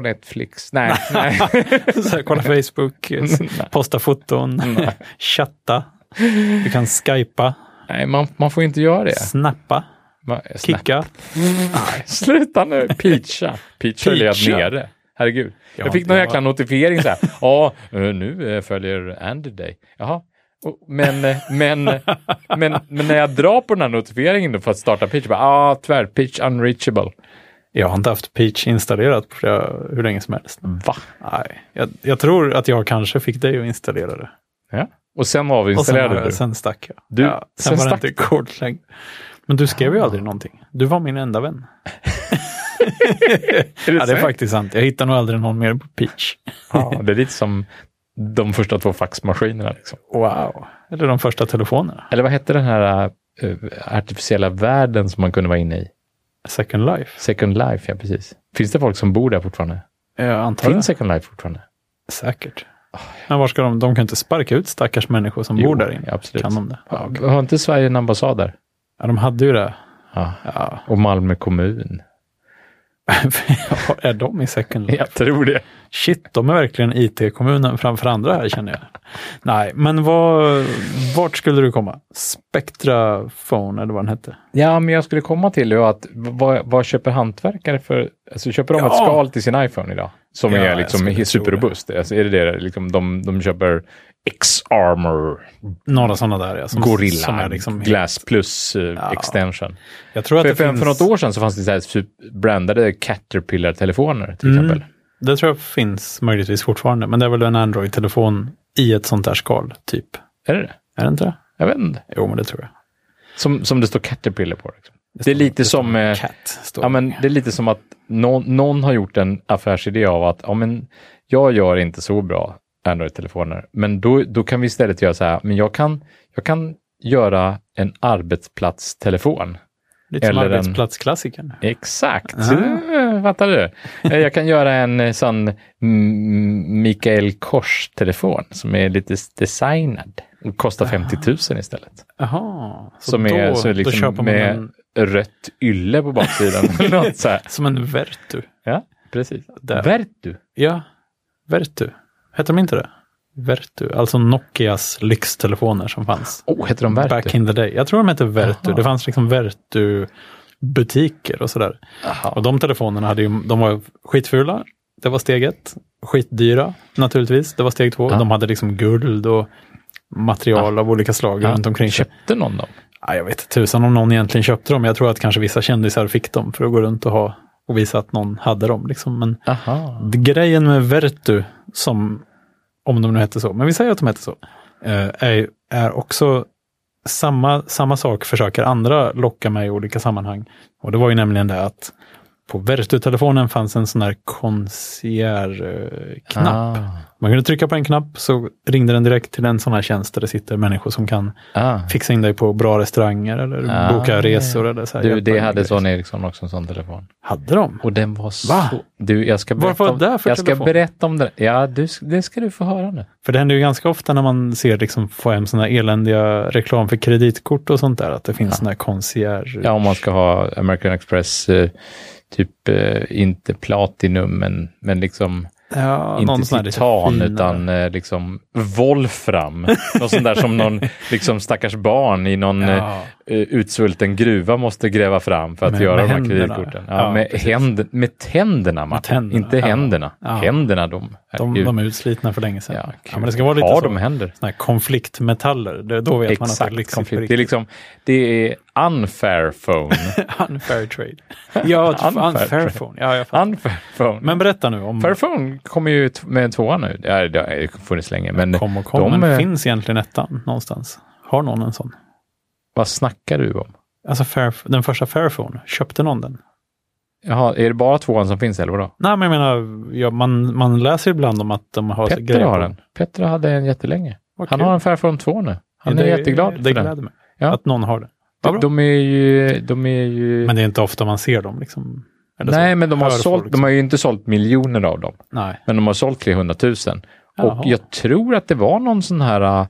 S2: Netflix. Nej, nej.
S1: Så här, kolla Facebook, eh, s- posta foton, chatta. Du kan skypa,
S2: nej man, man får inte göra det.
S1: snappa,
S2: Man, snä-
S1: kicka.
S2: Sluta nu! Peacha. Peacha är legat
S1: Peacha.
S2: nere. Herregud. Jag,
S1: har
S2: fick
S1: inte-
S2: någon
S1: jag-
S2: jäkla notifiering så här. Ja, eh, nu eh, följer Andy dig. Jaha. Och- Men, eh, men, men, men när jag drar på den här notifieringen då för att starta pitch, bara, ah, tyvärr, pitch unreachable.
S1: Jag har inte haft Peach installerat på flera, hur länge som helst.
S2: Va?
S1: Nej, jag, jag tror att jag kanske fick dig att installera det.
S2: Ja. Och sen
S1: Och sen,
S2: avinstallerade
S1: har jag-
S2: du.
S1: sen stack jag.
S2: Du-
S1: ja, sen,
S2: sen
S1: var
S2: stack
S1: det inte kort längre. Men du skrev ju aldrig någonting. Du var min enda vän.
S2: Är det,
S1: Ja, det är
S2: sant?
S1: faktiskt sant. Jag hittar nog aldrig någon mer på Peach.
S2: ja, det är lite som de första två faxmaskinerna. Liksom.
S1: Wow. Eller de första telefonerna.
S2: Eller vad hette den här eh, artificiella världen som man kunde vara inne i?
S1: Second Life.
S2: Second Life, ja precis. Finns det folk som bor där fortfarande?
S1: Jag antar
S2: Finns
S1: det.
S2: Second Life fortfarande?
S1: Säkert.
S2: Ah,
S1: Men var ska de? De kan inte sparka ut stackars människor som bor där inne.
S2: absolut.
S1: Kan de det? Ja, okej.
S2: Har inte Sverige en ambassad där?
S1: ja, de hade ju det.
S2: Ja.
S1: Ja.
S2: Och Malmö kommun.
S1: är de i Second Life?
S2: Jag tror det.
S1: Shit, de är verkligen IT-kommunen framför andra här känner jag. Nej, men vad, vart skulle du komma? Spectra Phone eller vad den hette.
S2: Ja, men jag skulle komma till ju att v- vad, vad köper hantverkare för, alltså köper de
S1: Ja.
S2: ett skal till sin iPhone idag? Som
S1: Ja,
S2: är
S1: jag
S2: liksom
S1: skulle
S2: he-
S1: tro
S2: superrobust. Alltså, är det det liksom, de, de köper X-Armor,
S1: Några sådana där ja. Som,
S2: Gorilla,
S1: Som är liksom,
S2: Glass Plus eh, Extension.
S1: jag tror att
S2: För,
S1: det
S2: för,
S1: finns,
S2: för något år sedan så fanns det så här sup- brandade Caterpillar-telefoner till
S1: Mm.
S2: exempel.
S1: Det tror jag finns möjligtvis fortfarande, men det är väl en Android-telefon i ett sånt där skal, typ.
S2: Är det det?
S1: Är det inte det?
S2: Jag vet inte.
S1: Jo, men det tror jag.
S2: Som, som det står Caterpillar på. Liksom. Det, är
S1: står-
S2: lite som... eh,
S1: Cat står
S2: Ja, men det är lite som att någon, någon har gjort en affärsidé av att ja, men jag gör inte så bra Android-telefoner, men då, då kan vi istället göra så här, men jag kan, jag kan göra en arbetsplatstelefon.
S1: lite som
S2: eller en-
S1: arbetsplatsklassikern.
S2: Exakt,
S1: Ah.
S2: Eh, fattar du? Eh, Jag kan göra en eh, sån mm, Mikael Kors-telefon som är lite s- designad och kostar 50 000 istället.
S1: Jaha, så
S2: Som
S1: då,
S2: är, så är
S1: då köper
S2: liksom
S1: man
S2: med
S1: en,
S2: rött ylle på baksidan. eller något så här.
S1: som en Vertu.
S2: Ja, precis.
S1: Där.
S2: Vertu.
S1: Ja, Vertu. Hette de inte det? Vertu, alltså Nokias lyxtelefoner som fanns.
S2: Oh, heter de Vertu?
S1: Back in the day. Jag tror de hette Vertu. Det fanns liksom Vertu-butiker och sådär. Och de telefonerna hade ju, de var skitfula, det var steg ett. Skitdyra, naturligtvis, det var steg två.
S2: Ja.
S1: De hade liksom guld och material av olika slag runt omkring sig.
S2: Köpte någon dem?
S1: Ja, jag vet inte tusan om någon egentligen köpte dem. Jag tror att kanske vissa kändisar fick dem för att gå runt och, ha, och visa att någon hade dem. Liksom. Men
S2: Aha.
S1: grejen med Vertu, som, om de nu hette så, men vi säger att de hette så, eh, är, är också samma, samma sak försöker andra locka med i olika sammanhang. Och det var ju nämligen det att på Vertu-telefonen fanns en sån här concierge-knapp.
S2: Ah.
S1: Man kunde trycka på en knapp så ringde den direkt till en sån här tjänst där det sitter människor som kan
S2: Ah.
S1: fixa in dig på bra restauranger eller
S2: Ah.
S1: boka resor. Eller så här,
S2: Du,
S1: hjälpa
S2: det
S1: dig med
S2: hade
S1: grejer.
S2: Son Eriksson också, en sån telefon.
S1: Hade de?
S2: Och den var så...
S1: Va?
S2: Du, jag ska berätta
S1: Varför var
S2: om,
S1: det där för
S2: jag ska
S1: telefon?
S2: berätta om den. Ja, du, det ska du få höra nu.
S1: För det händer ju ganska ofta när man ser liksom få hem sådana eländiga reklam för kreditkort och sånt där, att det finns sådana här concierge.
S2: Ja, om man ska ha American Express, eh, typ eh, inte platinum, men, men liksom
S1: Ja, någon sån
S2: inte
S1: här lite
S2: titan,
S1: finare.
S2: utan eh, liksom volfram. Något sånt där som någon liksom stackars barn i någon
S1: Ja.
S2: eh, eh, utsvulten gruva måste gräva fram för att
S1: Med-
S2: göra
S1: med
S2: de här
S1: händerna.
S2: kreditkorten. Ja,
S1: Ja,
S2: med,
S1: precis.
S2: händ, med tänderna, Martin.
S1: tänderna,
S2: Inte
S1: ja.
S2: händerna.
S1: Ja.
S2: Händerna, de,
S1: De,
S2: herregud.
S1: de är utslitna för länge sedan.
S2: Ja,
S1: Ja,
S2: kul.
S1: men det ska vara lite
S2: Har
S1: så,
S2: de händer?
S1: såna här konfliktmetaller. Det, då vet man att
S2: Exakt,
S1: det är lyxigt
S2: konflikt. Det
S1: på
S2: är liksom, det är unfair phone.
S1: riktigt. Unfair trade. ja, ett
S2: Unfair
S1: unfair,
S2: trade.
S1: phone. Ja, jag fattar.
S2: unfair phone.
S1: men berätta nu om
S2: Fair phone kommer ju t- med en tvåa nu. Det har- det har funnits länge, men
S1: kom och kom.
S2: de,
S1: men
S2: eh,
S1: finns egentligen ettan någonstans? Har någon en sån?
S2: vad snackar du om?
S1: Alltså fair, den första Fairphone, köpte någon den?
S2: Jaha, är det bara tvåan som finns eller vadå?
S1: Nej, men jag menar, ja, man, man läser ibland om att de har så
S2: Petter
S1: grejer
S2: har
S1: på-
S2: den. Petter hade en jättelänge.
S1: Vad
S2: Han
S1: kul.
S2: har en Fair phone 2 nu. Han
S1: Ja,
S2: är
S1: det-
S2: jätteglad
S1: Det
S2: för den.
S1: gläder mig
S2: Ja.
S1: att någon har det. Vad bra.
S2: De är ju... De är ju
S1: Men det är inte ofta man ser dem. Liksom, Eller så.
S2: nej, men de har,
S1: Hör
S2: sålt,
S1: folk
S2: de har ju inte sålt miljoner av dem,
S1: som- Nej.
S2: men de har sålt 300 000.
S1: Jaha.
S2: Och jag tror att det var någon sån här... äh,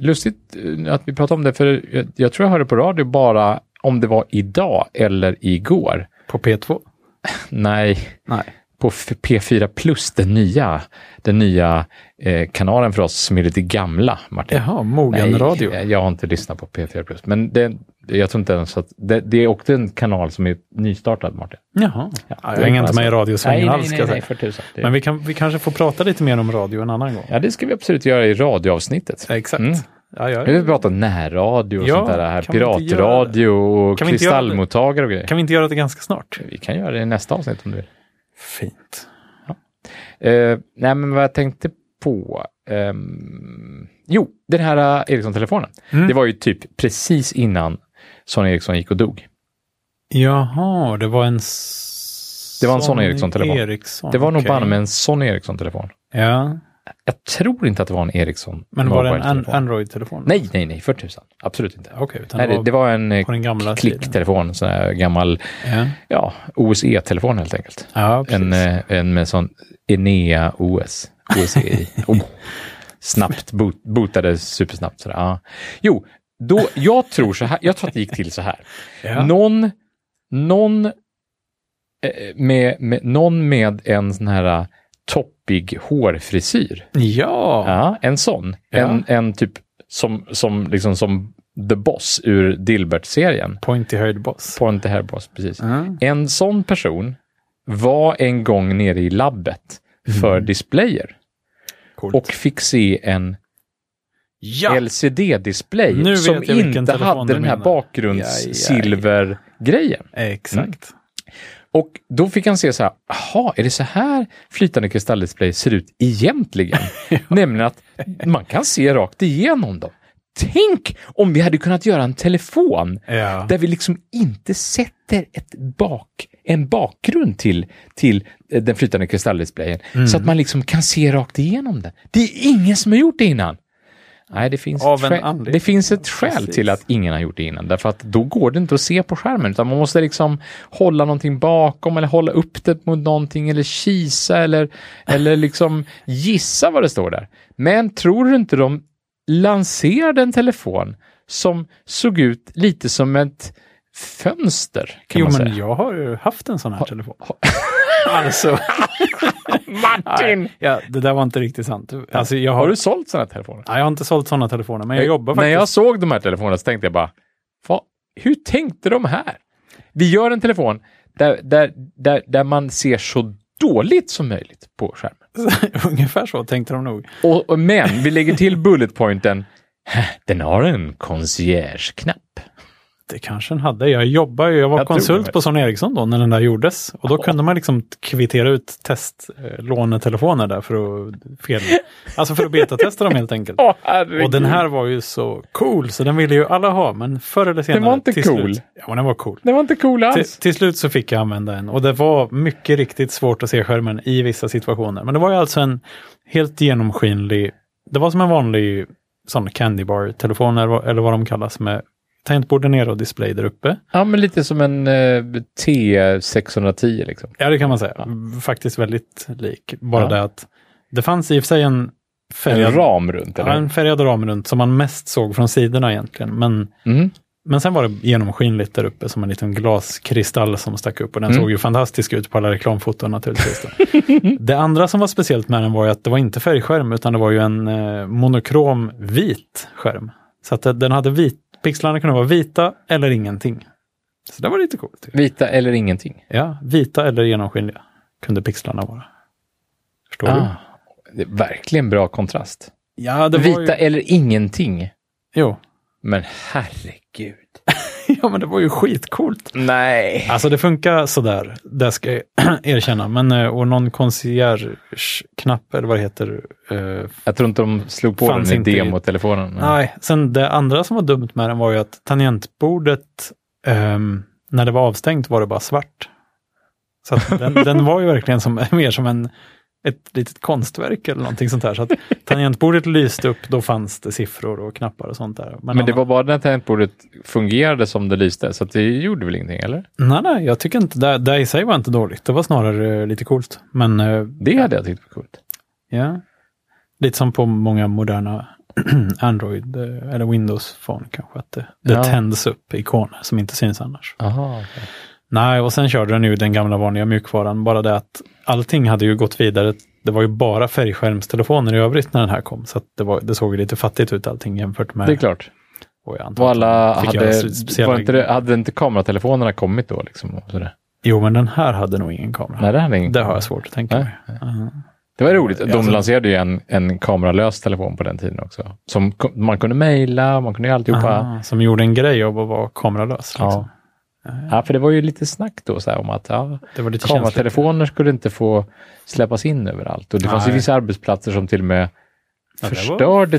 S2: Lustigt äh, att vi pratade om det, för jag, jag tror jag hörde på radio bara om det var idag eller igår.
S1: På P2?
S2: Nej,
S1: Nej.
S2: på F- P4 Plus, den nya, den nya eh, kanalen för oss som är lite gamla, Martin. eh,
S1: Jaha, mogen radio.
S2: jag- jag har inte lyssnat på P4 Plus, men det, jag tror inte ens att... Det, det är också en kanal som är nystartad, Martin.
S1: Jaha. Ja, jag
S2: det alltså-
S1: hänger inte
S2: var
S1: med i radiosvängen alls. ska jag säga.
S2: för tusan. Det-
S1: Men vi, kan, vi kanske får prata lite mer om radio en annan gång.
S2: Ja, det ska vi absolut göra i radioavsnittet.
S1: Exakt.
S2: Mm.
S1: Ja, ja.
S2: Nu har vi pratat om närradio och
S1: Ja,
S2: sånt där, här,
S1: kan vi inte
S2: piratradio och
S1: Kan vi inte göra det?
S2: kristallmottagare och grejer.
S1: Kan vi inte göra det ganska snart?
S2: Vi kan göra det i nästa avsnitt om du vill.
S1: Fint.
S2: Eh, nej, men vad jag tänkte på... ehm, jo, den här eh, Ericsson-telefonen.
S1: Mm.
S2: Det var ju typ precis innan Sony Ericsson gick och dog.
S1: Jaha, det var en... s-
S2: Det var en sån Ericsson-telefon.
S1: Ericsson,
S2: Det var nog
S1: okej.
S2: bara med en Sony Ericsson-telefon.
S1: Ja,
S2: Jag tror inte att det var en Ericsson.
S1: Men var det en an-
S2: mobile-telefon.
S1: Android-telefon?
S2: Nej, nej, nej, för tusan. Absolut inte.
S1: Okej, utan
S2: Nej, det, det var en eh,
S1: på den gamla tiden.
S2: klicktelefon, sån här gammal
S1: Ja,
S2: ja, OSE-telefon helt enkelt.
S1: ja precis.
S2: En, eh, en med sån Enea OS. OSE i. oh. Snabbt, boot, bootade supersnabbt. Sådär. Ja. Jo, då, jag, tror så här, jag tror att det gick till så här.
S1: ja.
S2: Någon, någon, eh, med, med, någon med en sån här eh, toppig hårfrisyr.
S1: ja.
S2: Ja, en sån.
S1: Ja.
S2: En, en typ som, som, liksom som The Boss ur Dilbert-serien.
S1: Pointy Höjd Boss.
S2: Pointer Hair Boss, precis.
S1: Ja.
S2: En sån person var en gång nere i labbet för
S1: Mm.
S2: displayer
S1: Coolt.
S2: och fick se en
S1: ja. Nu
S2: LCD-display
S1: vet
S2: som
S1: jag vilken
S2: inte
S1: telefon
S2: hade
S1: du
S2: den här
S1: menar.
S2: bakgrundssilvergrejen.
S1: Exakt.
S2: Mm. Och då fick han se så här, jaha, är det så här flytande kristalldisplay ser ut egentligen? Nämligen att man kan se rakt igenom dem. Tänk om vi hade kunnat göra en telefon
S1: Ja.
S2: där vi liksom inte sätter ett bak, en bakgrund till, till eh, den flytande kristalldisplayen.
S1: Mm.
S2: Så att man liksom kan se rakt igenom den. Det är ingen som har gjort det innan. Nej, det finns,
S1: Av
S2: ett
S1: en
S2: skäl,
S1: anledning.
S2: det finns ett skäl
S1: Precis.
S2: till att ingen har gjort det innan. Därför att då går det inte att se på skärmen. Utan man måste liksom hålla någonting bakom eller hålla upp det mot någonting eller kisa eller, eller liksom gissa vad det står där. Men tror du inte de lanserade en telefon som såg ut lite som ett fönster? Kan
S1: Jo,
S2: man
S1: men
S2: säga.
S1: jag har ju haft en sån här telefon. alltså,
S2: Martin!
S1: ja, det där var inte riktigt sant. Alltså, jag har,
S2: Har du sålt sådana här telefoner?
S1: Nej, jag har inte sålt såna telefoner, men jag jobbar
S2: När
S1: faktiskt.
S2: jag såg de här telefonerna så tänkte jag bara, "Va? hur tänkte de här? Vi gör en telefon där, där, där, där man ser så dåligt som möjligt på skärmen.
S1: Ungefär så tänkte de nog.
S2: Och, och, men vi lägger till bullet pointen, den har en concierge-knapp.
S1: Det kanske den hade. Jag jobbar ju, jag var
S2: Jag tror det
S1: konsult
S2: var-
S1: på Sony Ericsson då när den där gjordes. Och då kunde man liksom kvittera ut testlånetelefoner där för att fel, alltså för att betatesta dem helt enkelt.
S2: Åh,
S1: Och den här var ju så cool, så den ville ju alla ha, men förr eller senare.
S2: Den var inte
S1: till
S2: cool.
S1: Slut, ja, men den var cool.
S2: Den var inte cool
S1: Till,
S2: alls.
S1: till slut så fick jag använda en och det var mycket riktigt svårt att se skärmen i vissa situationer. Men det var ju alltså en helt genomskinlig, det var som en vanlig sån candy bar-telefon eller vad- eller vad de kallas med tangentbord där nere och display där uppe.
S2: Ja, men lite som en eh, T610 liksom.
S1: Ja, det kan man säga. Faktiskt väldigt lik. Bara
S2: Ja.
S1: det att det fanns i och för sig en
S2: En
S1: färgad,
S2: ram runt,
S1: ja,
S2: eller
S1: en färgad ram runt som man mest såg från sidorna egentligen. Men,
S2: mm.
S1: men sen var det genomskinligt där uppe som en liten glaskristall som stack upp och den
S2: Mm.
S1: såg ju fantastisk ut på alla reklamfoton naturligtvis. Då. det andra som var speciellt med den var ju att det var inte färgskärm utan det var ju en eh, monokrom vit skärm. Så att det- den hade vit, pixlarna kunde vara vita eller ingenting. Så det var lite coolt.
S2: Vita eller ingenting.
S1: Ja, vita eller genomskinliga kunde pixlarna vara. Förstår du?
S2: Ah, det är verkligen bra kontrast.
S1: Ja, det
S2: Vita
S1: var ju...
S2: eller ingenting.
S1: Jo.
S2: Men herregud.
S1: ja, men det var ju skitcoolt.
S2: Nej.
S1: Alltså det funkar sådär, det ska jag erkänna. Men eh, och någon concierge-knapp eller vad det heter. eh,
S2: Jag tror inte de slog på
S1: Fanns
S2: den i
S1: inte i-
S2: demotelefonen. men-
S1: Nej, sen det andra som var dumt med den var ju att tangentbordet, ehm, när det var avstängt var det bara svart. Så att den, den var ju verkligen som, mer som en, ett litet konstverk eller någonting sånt där. Så att tangentbordet lyste upp, då fanns det siffror och knappar och sånt där.
S2: Men det
S1: annars-
S2: var bara när tangentbordet fungerade som det lyste, så att det gjorde väl ingenting, eller?
S1: Nej, nej, jag tycker inte det, det i sig var inte dåligt. Det var snarare eh, lite coolt. Men eh,
S2: Det hade jag tyckt var coolt.
S1: ja, lite som på många moderna Android eh, eller Windows-phone kanske. Att det, det
S2: Ja.
S1: tänds upp ikoner som inte syns annars.
S2: Aha,
S1: Nej, och sen körde den ju den gamla vanliga mjukvaran. Bara det att allting hade ju gått vidare. Det var ju bara färgskärmstelefoner i övrigt när den här kom. Så att det, var, det såg ju lite fattigt ut allting jämfört med...
S2: Det är klart.
S1: Och jag antar
S2: Och
S1: att de
S2: alla
S1: fick
S2: hade,
S1: göra spe- speciella-
S2: var inte det, hade inte kameratelefonerna kommit då? Liksom, och sådär?
S1: Jo, men den här hade nog ingen kamera.
S2: Nej, det hade ingen.
S1: Det har jag svårt att tänka
S2: Nej.
S1: mig. Ja.
S2: Det var roligt. De
S1: Alltså-
S2: lanserade ju en, en kameralös telefon på den tiden också. Som ko- man kunde mejla, man kunde göra alltihopa.
S1: Aha, som gjorde en grej av att vara kameralös. Liksom.
S2: Ja. Ja, för det var ju lite snack då så här, om att ja,
S1: Det var lite känsligt.
S2: kameratelefoner skulle inte få släppas in överallt. Och det fanns ju
S1: Nej.
S2: vissa arbetsplatser som till och med
S1: Ja, det var-
S2: förstörde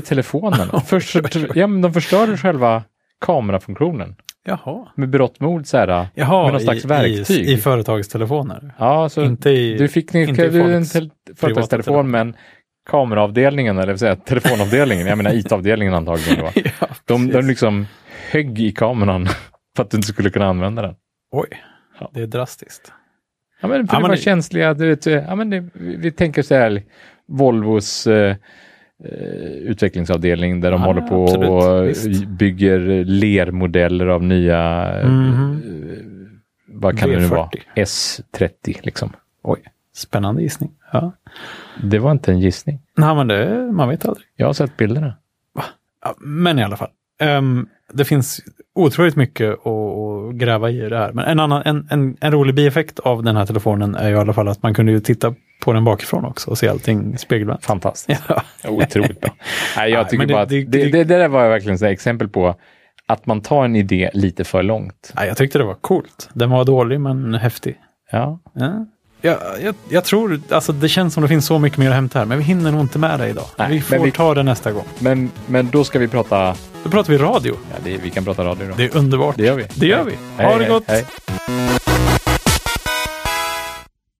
S2: telefonen. Förstör, ja, men de förstörde själva kamerafunktionen.
S1: Jaha.
S2: Med berått mod så här.
S1: Jaha,
S2: Med någon slags
S1: i,
S2: verktyg.
S1: I, i företagstelefoner.
S2: Ja, så
S1: Inte i...
S2: du fick ni,
S1: inte i
S2: du en
S1: folks
S2: tel-
S1: privata
S2: företagstelefon
S1: telefon.
S2: men kameraavdelningen, eller vad säger jag, telefonavdelningen, jag menar IT-avdelningen antagligen. Va?
S1: Ja,
S2: De, de
S1: precis.
S2: liksom högg i kameran för att du inte skulle kunna använda den.
S1: Oj,
S2: Ja.
S1: det är drastiskt.
S2: Ja, men för
S1: Ja, men
S2: det var
S1: det-
S2: känsliga, du vet, eh, ja, men det, vi vi tänker så här, Volvos eh, eh, utvecklingsavdelning där de
S1: Ja,
S2: håller på
S1: absolut.
S2: och
S1: Visst.
S2: bygger lermodeller av nya, eh,
S1: Mhm.
S2: eh, vad kan det nu
S1: V40.
S2: vara, S30 liksom.
S1: Spännande gissning. Ja.
S2: Det var inte en gissning.
S1: Nej, men det, man vet aldrig.
S2: Jag har sett bilderna.
S1: Ja, men i alla fall. Ehm, det finns otroligt mycket att, att gräva i det här. Men en, annan, en, en, en rolig bieffekt av den här telefonen är ju i alla fall att man kunde ju titta på den bakifrån också och se allting spegelvänt.
S2: Fantastiskt.
S1: Ja.
S2: Otroligt bra. Nej,
S1: Nej,
S2: jag tycker
S1: men det-
S2: bara att
S1: det-
S2: det,
S1: det-
S2: det, det där var verkligen ett exempel på att man tar en idé lite för långt.
S1: Ja, jag tyckte det var coolt. Den var dålig men häftig.
S2: Ja,
S1: Ja. Jag, jag, jag tror, alltså det känns som det finns så mycket mer att hämta här, men vi hinner nog inte med det idag.
S2: Nej,
S1: vi får
S2: men vi-
S1: ta det nästa gång.
S2: men, men då ska vi prata,
S1: Då pratar vi radio.
S2: ja, det, vi kan prata radio då.
S1: Det är underbart.
S2: Det gör vi.
S1: Det gör vi.
S2: Hej,
S1: Ha det
S2: hej,
S1: gott.
S2: hej.